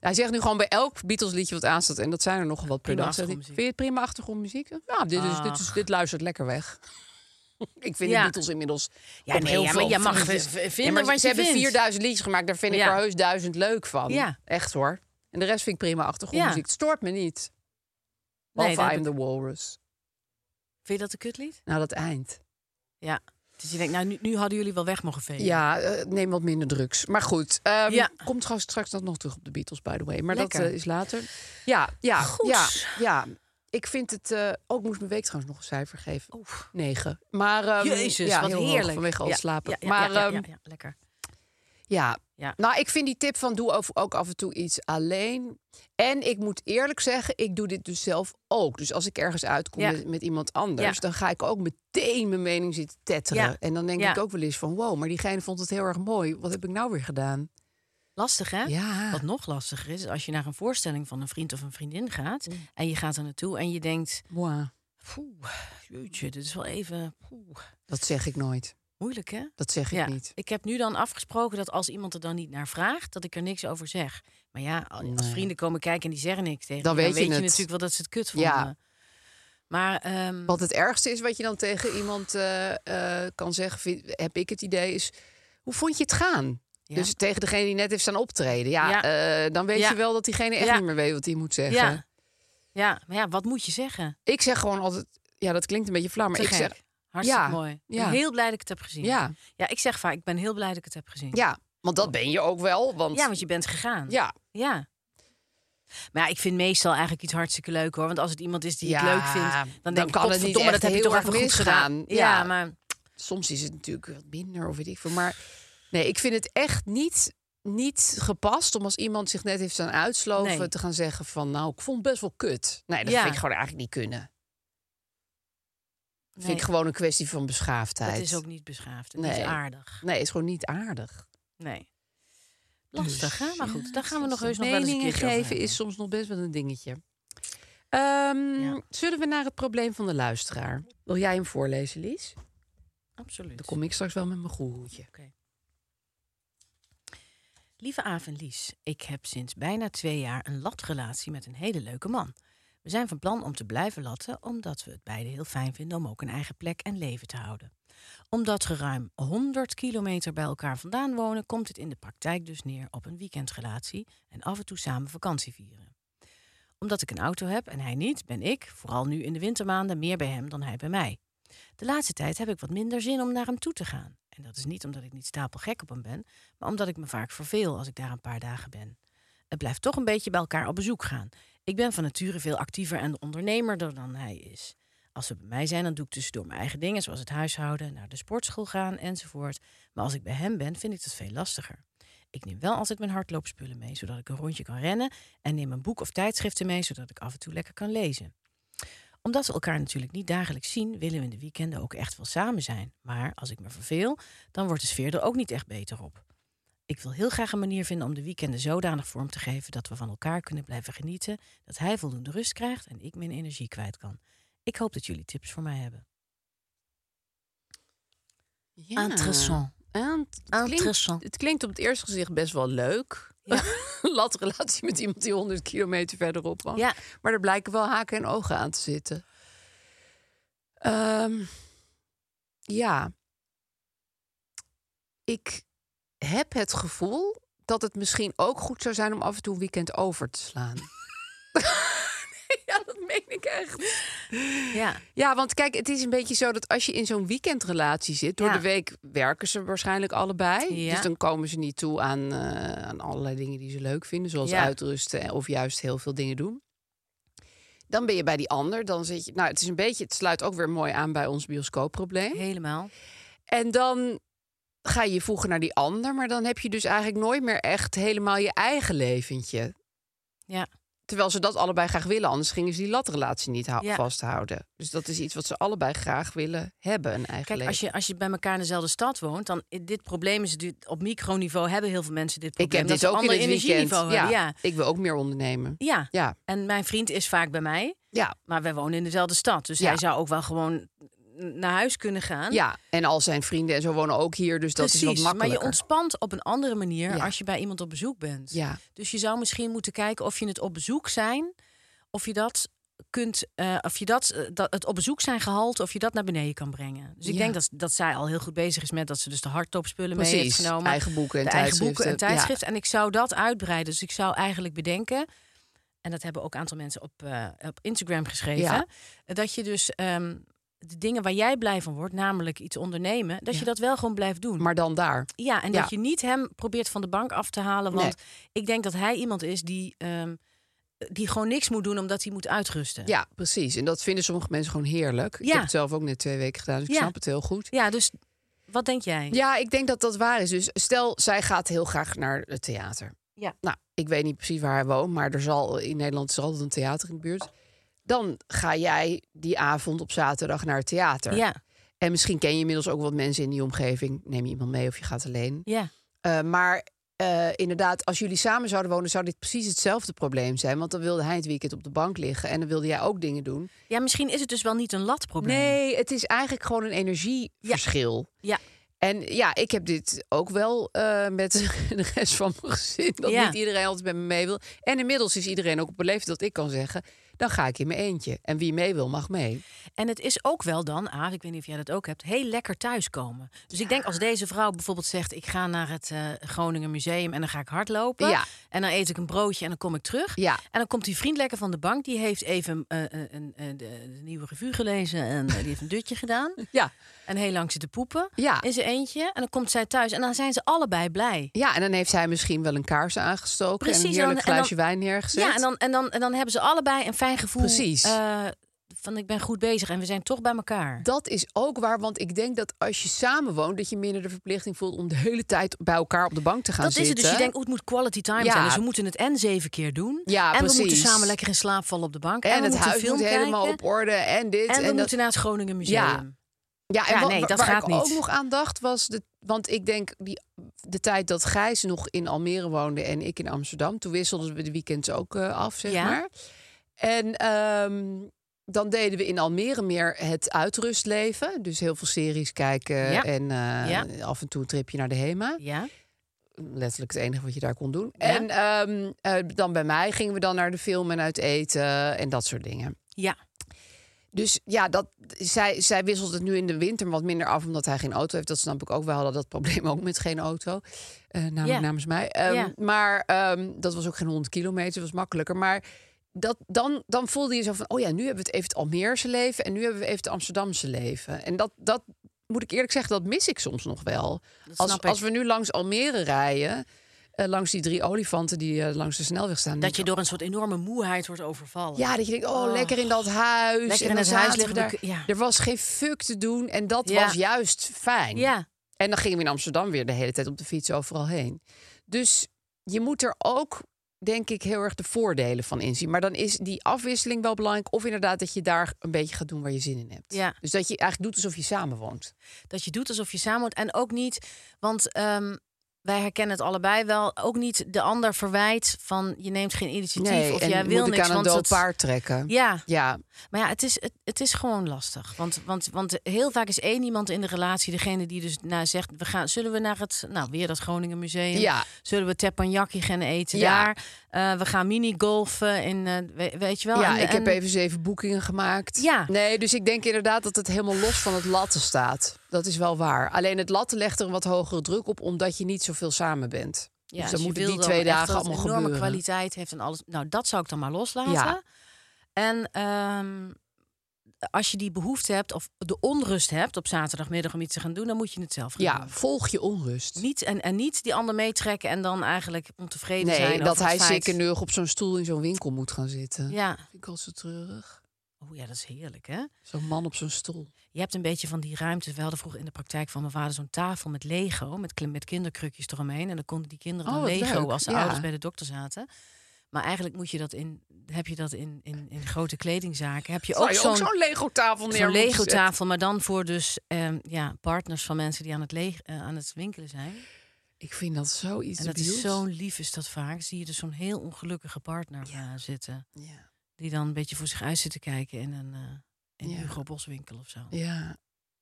Hij zegt nu gewoon bij elk Beatles liedje wat aanstaat, en dat zijn er nogal wat per
Prima
dag. zegt hij, Vind
achtergrondmuziek. Ah.
je het prima achtergrondmuziek? Ja, dit, is, dit, is, dit luistert lekker weg. [laughs] Ik vind
Ja.
de Beatles inmiddels.
Ja,
op
nee,
heel
ja, maar
veel
je mag
fronten-
v- v- vinden
Ja, maar
wat
ze
je
hebben
vindt.
4000 liedjes gemaakt, daar vind ik
Ja.
er heus duizend leuk van.
Ja.
Echt hoor. En de rest vind ik prima achtergrondmuziek.
Ja.
Het stoort me niet.
Nee,
Behalve
dat
I'm
heb
the Walrus.
Vind je dat een kutlied?
Nou, dat eind.
Ja. Dus je denkt, nou, nu, nu hadden jullie wel weg mogen vegen.
Ja, eh, neem wat minder drugs. Maar goed, ehm,
Ja.
komt trouwens straks nog terug op de Beatles, by the way. Maar
Lekker.
dat eh, is later. Ja, ja,
Goed.
ja, ja. Ik vind het... eh, ook ik moest mijn week trouwens nog een cijfer geven.
Oef.
Negen. Maar, ehm,
Oh. Jezus,
ja,
wat
heel hoog
heerlijk.
vanwege al
Ja,
het slapen.
ja, ja,
maar
ja, ja,
ehm,
ja, ja, lekker.
ja.
Ja.
nou, ik vind die tip van doe ook- ook af en toe iets alleen. En ik moet eerlijk zeggen, ik doe dit dus zelf ook. Dus als ik ergens uitkom
Ja.
met, met iemand anders,
Ja.
dan ga ik ook meteen mijn mening zitten tetteren.
Ja.
En dan denk
Ja.
ik ook wel eens van, wow, maar diegene vond het heel erg mooi. Wat heb ik nou weer gedaan?
Lastig, hè?
Ja.
Wat nog lastiger is, is als je naar een voorstelling van een vriend of een vriendin gaat... en je gaat er naartoe en je denkt...
Moi.
Poeh, jeetje, dit is wel even poeh,
Dat zeg ik nooit.
moeilijk, hè?
Dat zeg ik
ja,
niet.
ik heb nu dan afgesproken dat als iemand er dan niet naar vraagt... dat ik er niks over zeg. Maar ja, als
Nee.
vrienden komen kijken en die zeggen niks tegen
Dan
je...
weet je het.
natuurlijk wel dat ze het kut vonden.
Ja.
Maar ehm,
Wat het ergste is wat je dan tegen iemand eh, eh, kan zeggen, vind- heb ik het idee, is hoe vond je het gaan?
Ja.
Dus tegen degene die net heeft staan optreden. Ja,
Ja.
eh, dan weet
Ja.
je wel dat diegene echt
Ja.
niet meer weet wat hij moet zeggen.
ja, ja, maar ja, wat moet je zeggen?
Ik zeg gewoon altijd, ja, dat klinkt een beetje flauw, maar
Te
ik
gek.
zeg,
Hartstikke
ja,
mooi. Ik ben
ja.
heel blij dat ik het heb gezien.
ja,
ja, ik zeg vaak, ik ben heel blij dat ik het heb gezien.
ja, want dat ben je ook wel. Want,
Ja, want je bent gegaan.
ja.
Ja. Maar ja, ik vind meestal eigenlijk iets hartstikke leuk hoor. Want als het iemand is die ik
Ja,
leuk vind, dan
dan
denk ik,
kan het niet
"Potverdomme,
echt
dat heb je
heel
toch
erg
even goed
misgaan."
gedaan. Ja,
Ja.
maar
soms is het natuurlijk wat minder of weet ik veel. Maar nee, ik vind het echt niet, niet gepast om als iemand zich net heeft staan uitsloven
Nee.
te gaan zeggen van nou, ik vond het best wel kut. Nee, dat
Ja.
vind ik gewoon eigenlijk niet kunnen. Dat
nee,
vind ik gewoon een kwestie van
dat
beschaafdheid.
is ook niet beschaafd en niet
Nee.
aardig.
Nee, is gewoon niet aardig.
Nee. Lastig hè? Maar goed, daar
dan
gaan we nog heus nog wel eens een
Dus Meningen
keertje over
geven
hebben.
is soms nog best wel een dingetje. Ehm,
Ja.
Zullen we naar het probleem van de luisteraar? Wil jij hem voorlezen, Lies?
Absoluut.
Dan kom ik straks wel met mijn goehoedje.
Lieve Aaf en Lies, ik heb sinds bijna twee jaar een latrelatie met een hele leuke man. We zijn van plan om te blijven latten, omdat we het beiden heel fijn vinden om ook een eigen plek en leven te houden. Omdat we ruim 100 kilometer bij elkaar vandaan wonen, komt het in de praktijk dus neer op een weekendrelatie en af en toe samen vakantie vieren. Omdat ik een auto heb en hij niet, ben ik, vooral nu in de wintermaanden, meer bij hem dan hij bij mij. De laatste tijd heb ik wat minder zin om naar hem toe te gaan. En dat is niet omdat ik niet stapelgek op hem ben, maar omdat ik me vaak verveel als ik daar een paar dagen ben. Het blijft toch een beetje bij elkaar op bezoek gaan. Ik ben van nature veel actiever en ondernemerder dan hij is. Als ze bij mij zijn, dan doe ik tussendoor mijn eigen dingen, zoals het huishouden, naar de sportschool gaan enzovoort. Maar als ik bij hem ben, vind ik dat veel lastiger. Ik neem wel altijd mijn hardloopspullen mee, zodat ik een rondje kan rennen, en neem een boek of tijdschriften mee, zodat ik af en toe lekker kan lezen. Omdat we elkaar natuurlijk niet dagelijks zien, willen we in de weekenden ook echt wel samen zijn. Maar als ik me verveel, dan wordt de sfeer er ook niet echt beter op. Ik wil heel graag een manier vinden om de weekenden zodanig vorm te geven dat we van elkaar kunnen blijven genieten, dat hij voldoende rust krijgt en ik mijn energie kwijt kan. Ik hoop dat jullie tips voor mij hebben.
Ja.
Interessant.
Ant- het klinkt-
Interessant.
Het klinkt op het eerste gezicht best wel leuk. [laughs] Latrelatie met iemand die 100 kilometer verderop woont.
Ja.
Maar er blijken wel haken en ogen aan te zitten. Ehm, ja. Ik heb het gevoel dat het misschien ook goed zou zijn om af en toe een weekend over te slaan. [laughs] ja, dat meen ik echt.
Ja.
Ja, want kijk, het is een beetje zo dat als je in zo'n weekendrelatie zit, door
Ja.
de week werken ze waarschijnlijk allebei.
Ja.
Dus dan komen ze niet toe aan, eh, aan allerlei dingen die ze leuk vinden, zoals
Ja.
uitrusten eh, of juist heel veel dingen doen. Dan ben je bij die ander, dan zit je. Nou, het is een beetje, het sluit ook weer mooi aan bij ons bioscoopprobleem.
Helemaal.
En dan ga je je voegen naar die ander, maar dan heb je dus eigenlijk nooit meer echt helemaal je eigen leventje.
Ja.
Terwijl ze dat allebei graag willen, anders gingen ze die latrelatie niet hou-
Ja.
vasthouden. Dus dat is iets wat ze allebei graag willen hebben, een eigen
Kijk,
leven.
als je, als je bij elkaar in dezelfde stad woont, dan eh, dit probleem is natuurlijk op microniveau hebben heel veel mensen dit
ik
probleem.
heb
dat
dit
ze een
ook in
ander
het weekend.
energieniveau
Ja,
hebben. Ja.
Ik wil ook meer ondernemen.
Ja.
Ja,
En mijn vriend is vaak bij mij,
ja,
maar wij wonen in dezelfde stad, dus
Ja.
hij zou ook wel gewoon naar huis kunnen gaan.
ja. En al zijn vrienden en zo wonen ook hier, dus dat
Precies,
is wat
maar
makkelijker.
je ontspant op een andere manier
Ja.
als je bij iemand op bezoek bent.
Ja.
Dus je zou misschien moeten kijken of je het op bezoek zijn, of je dat kunt, eh, of je dat, eh, dat het op bezoek zijn gehalte, of je dat naar beneden kan brengen. Dus ik
Ja.
denk dat, dat zij al heel goed bezig is met dat ze dus de hardtopspullen mee heeft
Precies,
genomen,
eigen boeken en
de eigen boeken en
tijdschriften, ja.
tijdschriften. En ik zou dat uitbreiden. Dus ik zou eigenlijk bedenken. En dat hebben ook een aantal mensen op, eh, op Instagram geschreven.
Ja.
Dat je dus ehm, de dingen waar jij blij van wordt, namelijk iets ondernemen, dat je dat wel gewoon blijft doen.
Maar dan daar.
Ja, en
Ja.
dat je niet hem probeert van de bank af te halen. Want ik denk dat hij iemand is die, ehm, die gewoon niks moet doen omdat hij moet uitrusten.
Ja, precies. En dat vinden sommige mensen gewoon heerlijk. Ik
Ja.
heb het zelf ook net twee weken gedaan, dus ik
Ja.
snap het heel goed.
Ja, dus wat denk jij?
Ja, ik denk dat dat waar is. Dus stel, zij gaat heel graag naar het theater.
Ja.
Nou, ik weet niet precies waar hij woont, maar er zal, in Nederland is er altijd een theater in de buurt. Dan ga jij die avond op zaterdag naar het theater.
ja.
En misschien ken je inmiddels ook wat mensen in die omgeving. Neem je iemand mee of je gaat alleen.
ja.
Eh, maar eh, inderdaad, als jullie samen zouden wonen, zou dit precies hetzelfde probleem zijn. Want dan wilde hij het weekend op de bank liggen en dan wilde jij ook dingen doen.
Ja, misschien is het dus wel niet een latprobleem.
Nee, het is eigenlijk gewoon een energieverschil.
Ja.
En ja, ik heb dit ook wel eh, met [laughs] de rest van mijn gezin. Dat
Ja.
niet iedereen altijd met me mee wil. En inmiddels is iedereen ook op een leeftijd dat ik kan zeggen... dan ga ik in mijn eentje. En wie mee wil, mag mee.
En het is ook wel dan, Aaf, ik weet niet of jij dat ook hebt, heel lekker thuiskomen. Dus ik denk als deze vrouw bijvoorbeeld zegt: ik ga naar het eh Groningen Museum en dan ga ik hardlopen.
Ja.
En dan eet ik een broodje en dan kom ik terug.
Ja.
En dan komt die vriend lekker van de bank, die heeft even eh, eh, een- eh, de, de nieuwe revue gelezen en eh, die heeft een dutje
[laughs]
gedaan.
Ja.
En heel lang zitten poepen
Ja.
in zijn eentje. En dan komt zij thuis en dan zijn ze allebei blij.
Ja, en dan heeft hij misschien wel een kaars aangestoken... en een
Precies,
heerlijk
en dan- en
glaasje
dan-
wijn neergezet.
Ja, en dan, en, dan, en dan hebben ze allebei een fijn gevoel.
Precies.
eh, van ik ben goed bezig en we zijn toch bij elkaar.
Dat is ook waar, want ik denk dat als je samen woont... dat je minder de verplichting voelt om de hele tijd bij elkaar op de bank te gaan
dat
zitten.
is het. Dus je denkt, oh, het moet quality time
Ja.
zijn. Dus we moeten het en zeven keer doen.
Ja,
en we moeten
precies.
samen lekker in slaap vallen op de bank.
En,
we
het
moeten
huis
een film
moet helemaal
kijken.
op orde en dit.
En we
dat.
moeten naar het Groningen Museum.
Ja. Ja, en
Ja,
wa-
nee,
wa-
dat
waar
gaat
ik
niet.
ook nog aan dacht was... De, want ik denk, die, de tijd dat Gijs nog in Almere woonde en ik in Amsterdam... toen wisselden we de weekends ook eh, af, zeg
Ja.
maar. En ehm, dan deden we in Almere meer het uitrustleven. Dus heel veel series kijken
Ja.
en eh,
Ja.
af en toe een tripje naar de HEMA.
Ja.
Letterlijk het enige wat je daar kon doen.
Ja.
En ehm, eh, dan bij mij gingen we dan naar de film en uit eten en dat soort dingen.
Ja.
Dus ja, dat, zij, zij wisselt het nu in de winter wat minder af omdat hij geen auto heeft. Dat snap ik ook. We hadden dat probleem [laughs] ook met geen auto. Eh, namelijk
Ja.
namens mij. Ehm,
Ja.
Maar ehm, dat was ook geen 100 kilometer. Dat was makkelijker. Maar dat, dan, dan voelde je zo van: oh ja, nu hebben we het even het Almeerse leven. En nu hebben we even het Amsterdamse leven. En dat, dat moet ik eerlijk zeggen, dat mis ik soms nog wel. Als,
snap ik.
als we nu langs Almere rijden. eh, langs die drie olifanten die eh, langs de snelweg staan. denk
Dat je
ik,
door een soort enorme moeheid wordt overvallen.
ja, dat je denkt, oh,
Oh.
lekker in dat huis.
Lekker in
en dan
het huis
zaten we
liggen,
daar.
we- ja.
Er was geen fuck te doen en dat
Ja.
was juist fijn.
Ja.
En dan gingen we in Amsterdam weer de hele tijd op de fiets overal heen. Dus je moet er ook denk ik heel erg de voordelen van inzien. Maar dan is die afwisseling wel belangrijk. Of inderdaad dat je daar een beetje gaat doen waar je zin in hebt.
Ja.
Dus dat je eigenlijk doet alsof je samenwoont.
Dat je doet alsof je samen woont. En ook niet, want ehm, wij herkennen het allebei wel, ook niet de ander verwijt van je neemt geen initiatief of
en
jij wil
moet
niks.
ik aan een
want
dood
het-
paard trekken.
Ja,
Ja,
maar ja, het is, het, het is gewoon lastig. Want, want, want heel vaak is één iemand in de relatie degene die dus nou, zegt... We gaan, zullen we naar het, nou weer dat Groningen Museum?
Ja.
Zullen we teppanyaki gaan eten
Ja.
daar? Eh, we gaan minigolfen in, eh, we- weet je wel?
ja
en-
ik heb
en-
even zeven boekingen gemaakt.
Ja.
Nee, dus ik denk inderdaad dat het helemaal los van het latten staat. Dat is wel waar. Alleen het latten legt er een wat hogere druk op, omdat je niet zoveel samen bent.
Ja,
dus
je
dan moeten
wil
die twee
echt
dagen
dat het
allemaal
enorme
gebeuren.
kwaliteit heeft en alles. Nou, dat zou ik dan maar loslaten.
Ja.
En ehm, als je die behoefte hebt of de onrust hebt op zaterdagmiddag om iets te gaan doen, dan moet je het zelf gaan
Ja,
doen.
volg je onrust.
Niet, en, en niet die ander meetrekken en dan eigenlijk ontevreden
nee,
zijn.
dat
over
hij
het feit-
zeker nullig op zo'n stoel in zo'n winkel moet gaan zitten.
Ja.
Vind ik al zo treurig.
Oh ja, dat is heerlijk hè.
Zo'n man op zo'n stoel.
Je hebt een beetje van die ruimte. We hadden vroeger in de praktijk van mijn vader zo'n tafel met Lego, met, kle- met kinderkrukjes eromheen. En dan konden die kinderen dan
Oh, wat
Lego
leuk,
als de
ja.
ouders bij de dokter zaten. Maar eigenlijk moet je dat in, heb je dat in, in, in grote kledingzaken. Heb je
Zou
ook
je
zo'n
Lego-tafel neer
zo'n
moeten zetten?
Lego-tafel, maar dan voor dus ehm, ja, partners van mensen die aan het, leeg, eh, aan het winkelen zijn.
Ik vind dat zoiets
en dat is
debiels.
zo'n lief is dat vaak. Zie je dus zo'n heel ongelukkige partner eh, zitten.
Ja.
Die dan een beetje voor zich uit zit te kijken in een eh in
Ja.
Hugo Bos winkel of zo.
ja,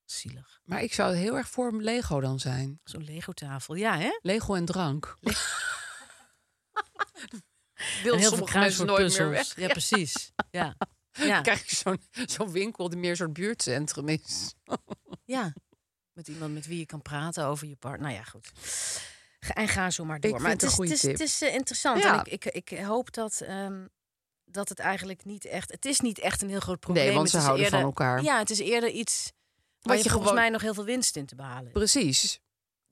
Zielig.
maar ik zou heel erg voor Lego dan zijn.
Zo'n Lego-tafel, ja hè?
Lego en [laughs] drank.
En
Wil
heel veel
sommige
kruis
mensen
voor
nooit meer
puzzels.
weg.
Ja, precies.
[laughs]
Ja. Ja.
krijg je zo'n zo'n winkel die meer zo'n buurtcentrum is.
ja. Met iemand met wie je kan praten over je partner. Nou ja, goed. Ga- En ga zo maar door.
vind
maar
het een
is,
goede
het is, het
tip.
is eh, interessant.
Ja.
En ik, ik, ik hoop dat, ehm, dat het eigenlijk niet echt... Het is niet echt een heel groot probleem.
Nee, want
Het
ze
is
houden van
eerder-
elkaar.
Ja, het is eerder iets waar
Wat
je,
je
volgens
gewoon-
mij nog heel veel winst in te behalen. hebt.
Precies.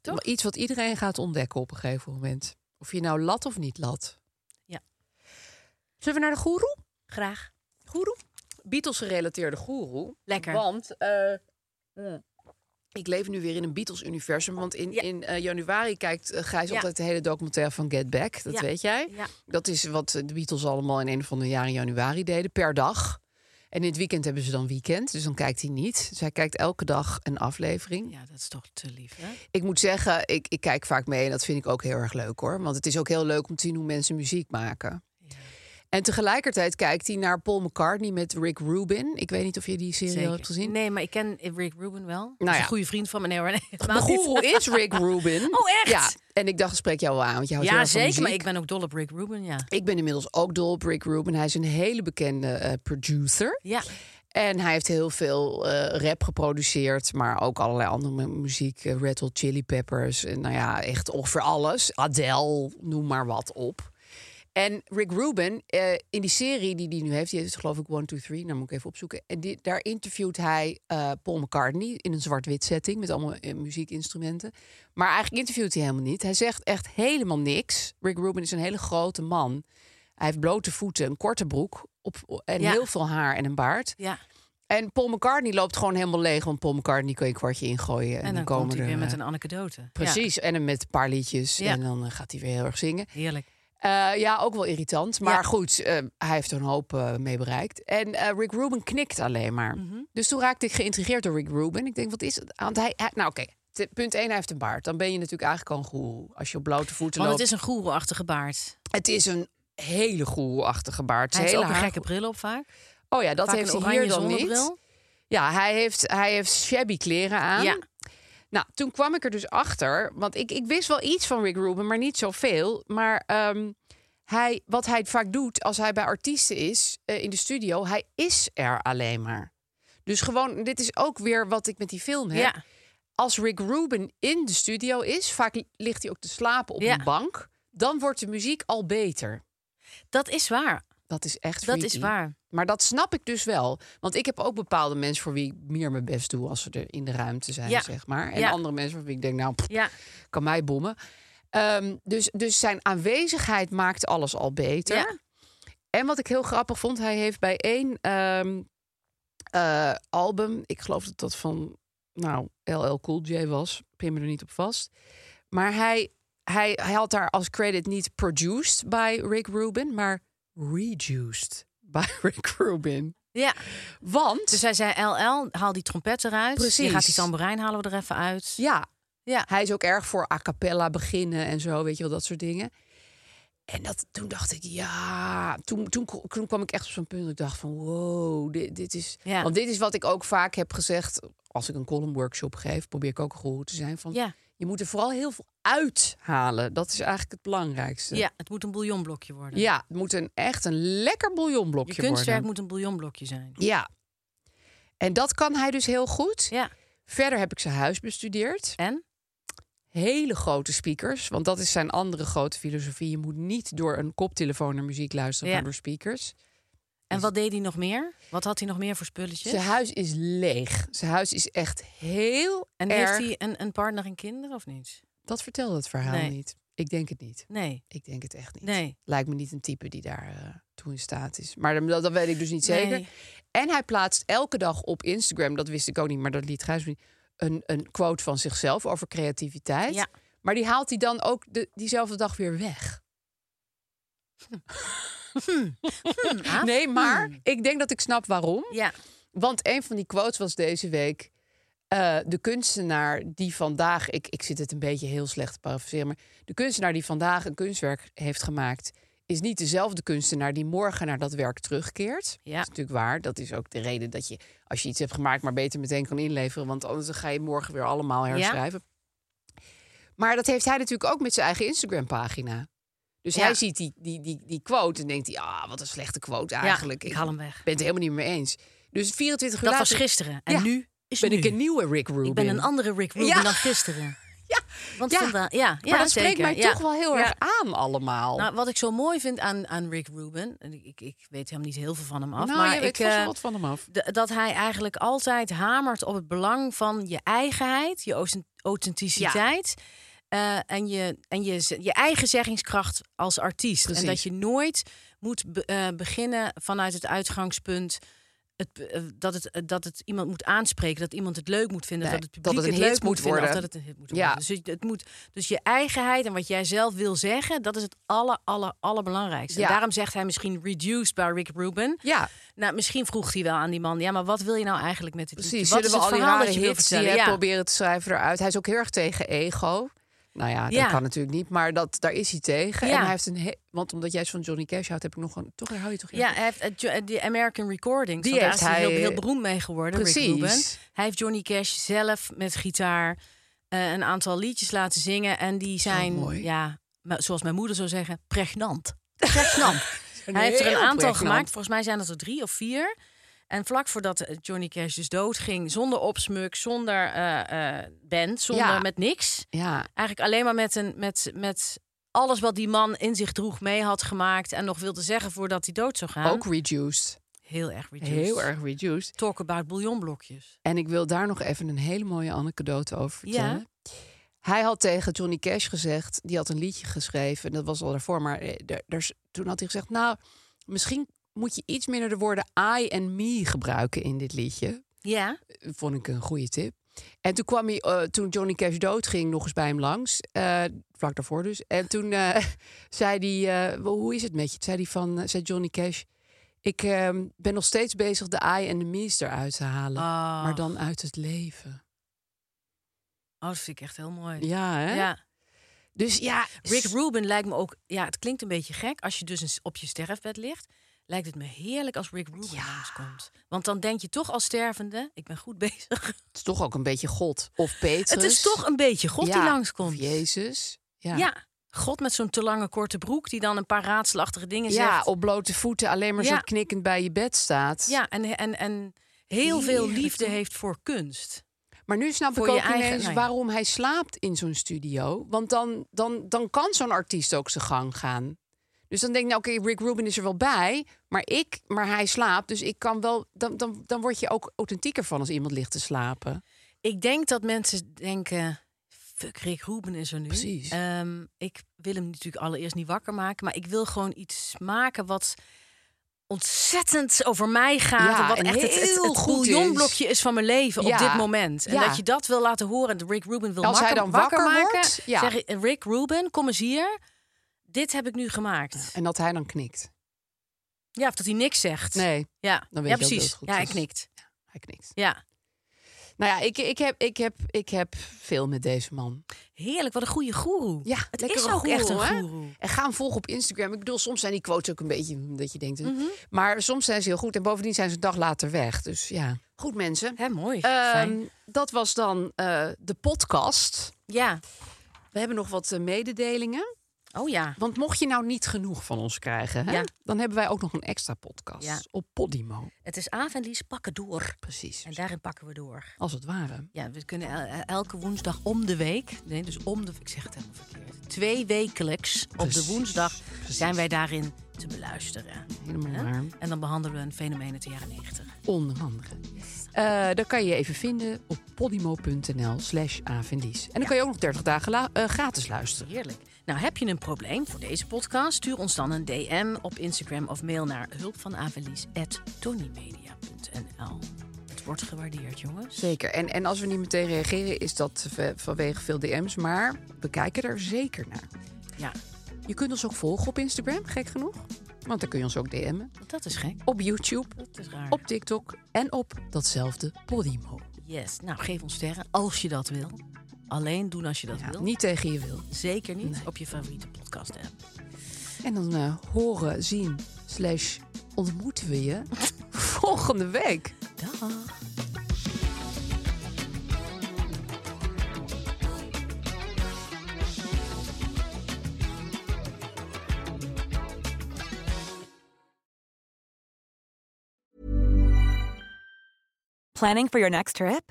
Toch? Iets wat iedereen gaat ontdekken op een gegeven moment. Of je nou lat of niet lat.
Ja.
Zullen we naar de goeroe?
Graag.
Goeroe? Beatles-gerelateerde goeroe.
Lekker.
Want eh, ik leef nu weer in een Beatles-universum. Want in,
Ja.
in eh, januari kijkt eh, Gijs
Ja.
altijd de hele documentaire van Get Back. Dat
Ja.
weet jij.
Ja.
Dat is wat eh, de Beatles allemaal in een van de jaren januari deden, per dag. En in het weekend hebben ze dan weekend, dus dan kijkt hij niet. Dus hij kijkt elke dag een aflevering.
Ja, dat is toch te lief, hè?
Ik moet zeggen, ik, ik kijk vaak mee en dat vind ik ook heel erg leuk hoor. Want het is ook heel leuk om te zien hoe mensen muziek maken. En tegelijkertijd kijkt hij naar Paul McCartney met Rick Rubin. Ik weet niet of je die serie al hebt gezien.
Nee, maar ik ken Rick Rubin wel. Nou is
ja.
een goede vriend van me. Nee, hoor, [laughs] nee,
Mijn
helemaal niet.
goeroe is Rick Rubin.
Oh, echt?
Ja, en ik dacht, ik spreek jou wel aan, want je houdt
[laughs]
heel
Ja,
erg van
zeker. Maar
muziek.
ik ben ook dol op Rick Rubin, ja.
Ik ben inmiddels ook dol op Rick Rubin. Hij is een hele bekende eh, producer.
Ja,
En hij heeft heel veel eh, rap geproduceerd, maar ook allerlei andere mu- muziek. eh, Red Hot Chili Peppers, en nou ja, echt ongeveer alles. Adele, noem maar wat op. En Rick Rubin, eh, in die serie die hij nu heeft, die heeft geloof ik 1, 2, 3, nou moet ik even opzoeken. En die, daar interviewt hij eh, Paul McCartney in een zwart-wit setting met allemaal eh, muziekinstrumenten. Maar eigenlijk interviewt hij helemaal niet. Hij zegt echt helemaal niks. Rick Rubin is een hele grote man. Hij heeft blote voeten, een korte broek op, en
Ja.
heel veel haar en een baard.
ja.
En Paul McCartney loopt gewoon helemaal leeg. Want Paul McCartney kan je een kwartje ingooien. En,
En dan
komen
komt hij
er,
weer met
eh,
een anekdote. Ja,
Precies, en dan met een paar liedjes.
Ja.
En dan eh, gaat hij weer heel erg zingen.
heerlijk.
Eh, ja, ook wel irritant. Maar
Ja.
goed, eh, hij heeft er een hoop eh, mee bereikt. En eh, Rick Rubin knikt alleen maar.
Mhm.
Dus toen raakte ik geïntrigeerd door Rick Rubin. Ik denk, wat is het? Want hij, hij- nou oké, te- punt 1, hij heeft een baard. Dan ben je natuurlijk eigenlijk al een goeroe. Als je op blote voeten
Want het
loopt.
is een goeroe-achtige baard.
Het is een hele goeroe-achtige baard.
Hij
Zijn
heeft ook
hele
een
haar-
gekke bril op vaak.
Oh ja, dat
vaak
heeft
een
hij
oranje
hier dan
zonnebril.
niet. Ja, hij heeft, hij heeft shabby kleren aan.
Ja.
Nou, toen kwam ik er dus achter, want ik, ik wist wel iets van Rick Rubin, maar niet zoveel. Maar ehm, hij, wat hij vaak doet als hij bij artiesten is eh, in de studio, hij is er alleen maar. Dus gewoon, dit is ook weer wat ik met die film heb.
Ja.
Als Rick Rubin in de studio is, vaak li- ligt hij ook te slapen op
Ja.
een bank, dan wordt de muziek al beter.
Dat is waar.
Dat is echt
Dat is
freaky.
waar.
Maar dat snap ik dus wel. Want ik heb ook bepaalde mensen voor wie ik meer mijn best doe als ze er in de ruimte zijn,
Ja.
zeg maar. En
Ja.
andere mensen voor wie ik denk, nou, pff,
Ja.
kan mij bommen. Ehm, dus, dus zijn aanwezigheid maakt alles al beter.
Ja.
En wat ik heel grappig vond, hij heeft bij één ehm, eh, album, ik geloof dat dat van nou, LL Cool J was, pin me er niet op vast. Maar hij hij, hij had daar als credit niet produced by Rick Rubin, maar reduced [laughs] by Rick Rubin.
Ja,
Want,
dus hij zei LL, haal die trompet eruit.
Precies.
Je gaat die tamboerijn halen we er even uit.
ja,
Ja.
hij is ook erg voor a cappella beginnen en zo, weet je wel, dat soort dingen. En dat, toen dacht ik, ja, toen, toen, toen kwam ik echt op zo'n punt dat ik dacht van, wow, dit, dit is...
Ja.
Want dit is wat ik ook vaak heb gezegd, als ik een column workshop geef, probeer ik ook een guru te zijn van...
Ja.
Je moet er vooral heel veel uithalen. Dat is eigenlijk het belangrijkste.
Ja, het moet een bouillonblokje worden.
Ja, het moet een, echt een lekker
Je
bouillonblokje
kunstwerk
worden.
moet een bouillonblokje zijn.
Ja. En dat kan hij dus heel goed.
Ja.
Verder heb ik zijn huis bestudeerd.
En?
Hele grote speakers, want dat is zijn andere grote filosofie. Je moet niet door een koptelefoon naar muziek luisteren,
Ja.
maar door speakers. Dus
En wat deed hij nog meer? Wat had hij nog meer voor spulletjes?
Zijn huis is leeg. Zijn huis is echt heel
en
erg...
heeft hij een, een partner en kinderen of niet?
Dat vertelde het verhaal
Nee.
niet. Ik denk het niet.
Nee.
Ik denk het echt niet.
Nee.
Lijkt me niet een type die daar eh, toe in staat is. Maar dat, dat weet ik dus niet zeker.
Nee.
En hij plaatst elke dag op Instagram, dat wist ik ook niet, maar dat liet Gijs me niet, een, een quote van zichzelf over creativiteit.
Ja.
Maar die haalt hij dan ook de, diezelfde dag weer weg.
Aaf?
Hm. Nee, maar ik denk dat ik snap waarom.
Hm. Ah. Ja.
Want een van die quotes was deze week. eh, de kunstenaar die vandaag. Ik, ik zit het een beetje heel slecht te parafraseren. Maar de kunstenaar die vandaag een kunstwerk heeft gemaakt. is niet dezelfde kunstenaar die morgen naar dat werk terugkeert.
Ja.
Dat is natuurlijk waar. Dat is ook de reden dat je. als je iets hebt gemaakt, maar beter meteen kan inleveren. Want anders dan ga je morgen weer allemaal herschrijven. Maar dat heeft hij natuurlijk ook met zijn eigen Instagram-pagina. Dus
Ja.
hij ziet die, die, die, die quote en denkt hij, ah, wat een slechte quote eigenlijk.
ik haal hem weg.
ben het helemaal niet mee eens. Dus 24 uur
Dat was
later
gisteren. En
Ja.
nu is
ben
nu.
ik een nieuwe Rick Rubin.
Ik ben een andere Rick Rubin
Ja.
dan gisteren.
Ja,
Want
ja.
vandaag- ja,
maar
ja,
dat spreekt
zeker,
mij
ja.
toch wel heel
Ja.
erg aan allemaal.
Nou, wat ik zo mooi vind aan, aan Rick Rubin, en ik, ik, ik weet helemaal niet heel veel van hem af,
Nou,
maar
jij weet
ik
vast wel
eh,
wat van hem af.
d- dat hij eigenlijk altijd hamert op het belang van je eigenheid, je authent- authenticiteit. eh, en je, en je, z- je eigen zeggingskracht als artiest. En dat
Precies.
je nooit moet be- eh, beginnen vanuit het uitgangspunt het, eh, dat, het, eh, dat het iemand moet aanspreken, dat iemand het leuk moet vinden,
Nee,
dat het publiek
dat het
het,
een
leuk
hit
moet
moet
vinden, of
worden.
dat het een hit moet
Ja.
worden. Dus, het moet, dus je eigenheid en wat jij zelf wil zeggen, dat is het aller, aller, allerbelangrijkste. En
Ja.
daarom zegt hij misschien reduced by Rick Rubin.
Ja,
Nou, misschien vroeg hij wel aan die man, ja, maar wat wil je nou eigenlijk met dit
precies.
liedje? Wat
Zullen
is het
we al die
verhaal
rare
dat je wil
hits die
vertellen?
hij
Ja.
proberen te schrijven eruit. Hij is ook heel erg tegen ego. Nou ja, dat
Ja.
kan natuurlijk niet, maar dat, daar is hij tegen.
Ja.
En hij heeft een he- Want omdat jij van Johnny Cash houdt, heb ik nog een... Toch hou je toch heel
Ja,
veel-
hij heeft eh, Jo- eh, die American Recordings.
Die
want daar
heeft
is hij heel,
hij-
heel beroemd mee geworden, Rick
Precies.
Rubin. Hij heeft Johnny Cash zelf met gitaar eh, een aantal liedjes laten zingen. En die zijn,
Oh, mooi.
ja, me- zoals mijn moeder zou zeggen, pregnant. Pregnant.
Een
hij heeft er een
heel
aantal
pregnant.
gemaakt. Volgens mij zijn dat er drie of vier. En vlak voordat eh, Johnny Cash dus doodging, zonder opsmuk, zonder eh, eh, band, zonder
Ja.
met niks.
Ja,
Eigenlijk alleen maar met, een, met, met alles wat die man in zich droeg mee had gemaakt... en nog wilde zeggen voordat hij dood zou gaan.
ook reduced.
Heel erg reduced.
Heel erg reduced.
Talk about bouillonblokjes.
En ik wil daar nog even een hele mooie anekdote over
Ja.
vertellen. Hij had tegen Johnny Cash gezegd, die had een liedje geschreven, en dat was al daarvoor, maar eh, daar, daar is- toen had hij gezegd, nou, misschien moet je iets minder de woorden I en me gebruiken in dit liedje.
Ja.
Eh, Vond ik een goede tip. En toen kwam hij, eh, toen Johnny Cash doodging, nog eens bij hem langs, eh, vlak daarvoor dus. En toen eh, [laughs] zei hij, eh, hoe is het met je? Toen zei, hij van, eh, zei Johnny Cash, ik eh, ben nog steeds bezig de I en de me's eruit te halen.
Ah.
Maar dan uit het leven.
Oh, dat vind ik echt heel mooi.
Ja, hè?
Ja.
Dus ja,
Rick Rubin lijkt me ook... Ja, het klinkt een beetje gek. Als je dus eens op je sterfbed ligt... lijkt het me heerlijk als Rick Rubin
Ja.
langskomt. Want dan denk je toch als stervende... ik ben goed [laughs] bezig.
het is toch ook een beetje God. Of Petrus.
Het is toch een beetje God die
Ja,
langskomt.
Of Jezus. Ja.
Ja. God met zo'n te lange korte broek... die dan een paar raadselachtige dingen
Ja,
zegt.
op blote voeten alleen maar
Ja.
zo knikkend bij je bed staat.
Ja, en, en, en heel veel
Heerlijk,
liefde
toch?
heeft voor kunst.
Maar nu snap
Voor
ik
je
ook
eigen-
ineens
nou ja.
waarom hij slaapt in zo'n studio. Want dan, dan, dan kan zo'n artiest ook zijn gang gaan. Dus dan denk ik, nou oké, Rick Rubin is er wel bij. Maar, ik, maar hij slaapt, dus ik kan wel... Dan, dan, dan word je ook authentieker van als iemand ligt te slapen.
Ik denk dat mensen denken... Fuck, Rick Rubin is er nu.
Precies.
Ehm, ik wil hem natuurlijk allereerst niet wakker maken... maar ik wil gewoon iets maken wat ontzettend over mij gaat.
Ja,
en wat
en
echt het, het,
heel
het
goed is.
bouillonblokje is van mijn leven op
Ja,
dit moment. En
ja.
dat je dat wil laten horen. En Rick Rubin wil
Als hij
wakker,
dan
wakker
wakker
maken.
wordt, ja.
Zeg ik, Rick Rubin, kom eens hier. Dit heb ik nu gemaakt.
En dat hij dan knikt.
Ja, of dat hij niks zegt.
Nee,
Ja,
Dan weet
ja
je ook dat
precies.
het goed
ja, hij
is.
knikt.
hij knikt.
Ja.
Nou ja, ik, ik, heb, ik, heb, ik heb veel met deze man.
Heerlijk, wat een goede goeroe.
Ja,
het
lekker
is ook echt een
goeroe, hè?
goeroe.
En ga hem volgen op Instagram. Ik bedoel, soms zijn die quotes ook een beetje dat je denkt.
Mhm.
Maar soms zijn ze heel goed. En bovendien zijn ze een dag later weg. Dus ja, goed mensen.
Hè, mooi.
Ehm,
Fijn.
dat was dan eh, de podcast.
Ja.
We hebben nog wat eh, mededelingen.
Oh ja.
Want mocht je nou niet genoeg van ons krijgen, hè,
Ja.
dan hebben wij ook nog een extra podcast
Ja.
op Podimo.
Het is Aaf en Lies pakken door.
Precies.
En daarin pakken we door.
Als het ware.
Ja, we kunnen el- el- elke woensdag om de week. Nee, dus om de. Ik zeg het helemaal verkeerd. Twee wekelijks op de
Precies,
woensdag
precies.
zijn wij daarin te beluisteren.
Helemaal
Hè?
waar.
En dan behandelen we een fenomeen uit de jaren 90.
Onder andere. Eh dat kan je even vinden op podimo.nl slash avendies. En dan kan je ook nog 30 dagen la- eh, gratis luisteren.
Heerlijk. Nou, heb je een probleem voor deze podcast? Stuur ons dan een DM op Instagram of mail naar hulpvanavelies.tonymedia.nl. Het wordt gewaardeerd, jongens.
Zeker. En, en als we niet meteen reageren, is dat eh, vanwege veel DM's. Maar we kijken er zeker naar.
Ja,
Je kunt ons ook volgen op Instagram, gek genoeg. Want dan kun je ons ook DM'en.
dat is gek.
Op YouTube,
Dat is raar.
op TikTok en op datzelfde Podimo.
Yes. Nou, geef ons sterren als je dat wil. Alleen doen als je dat
Ja,
wil.
niet tegen je wil.
Zeker niet op je favoriete podcast app.
En dan eh, horen, zien, slash ontmoeten we je [laughs] volgende week.
Dag.
Planning for your next trip?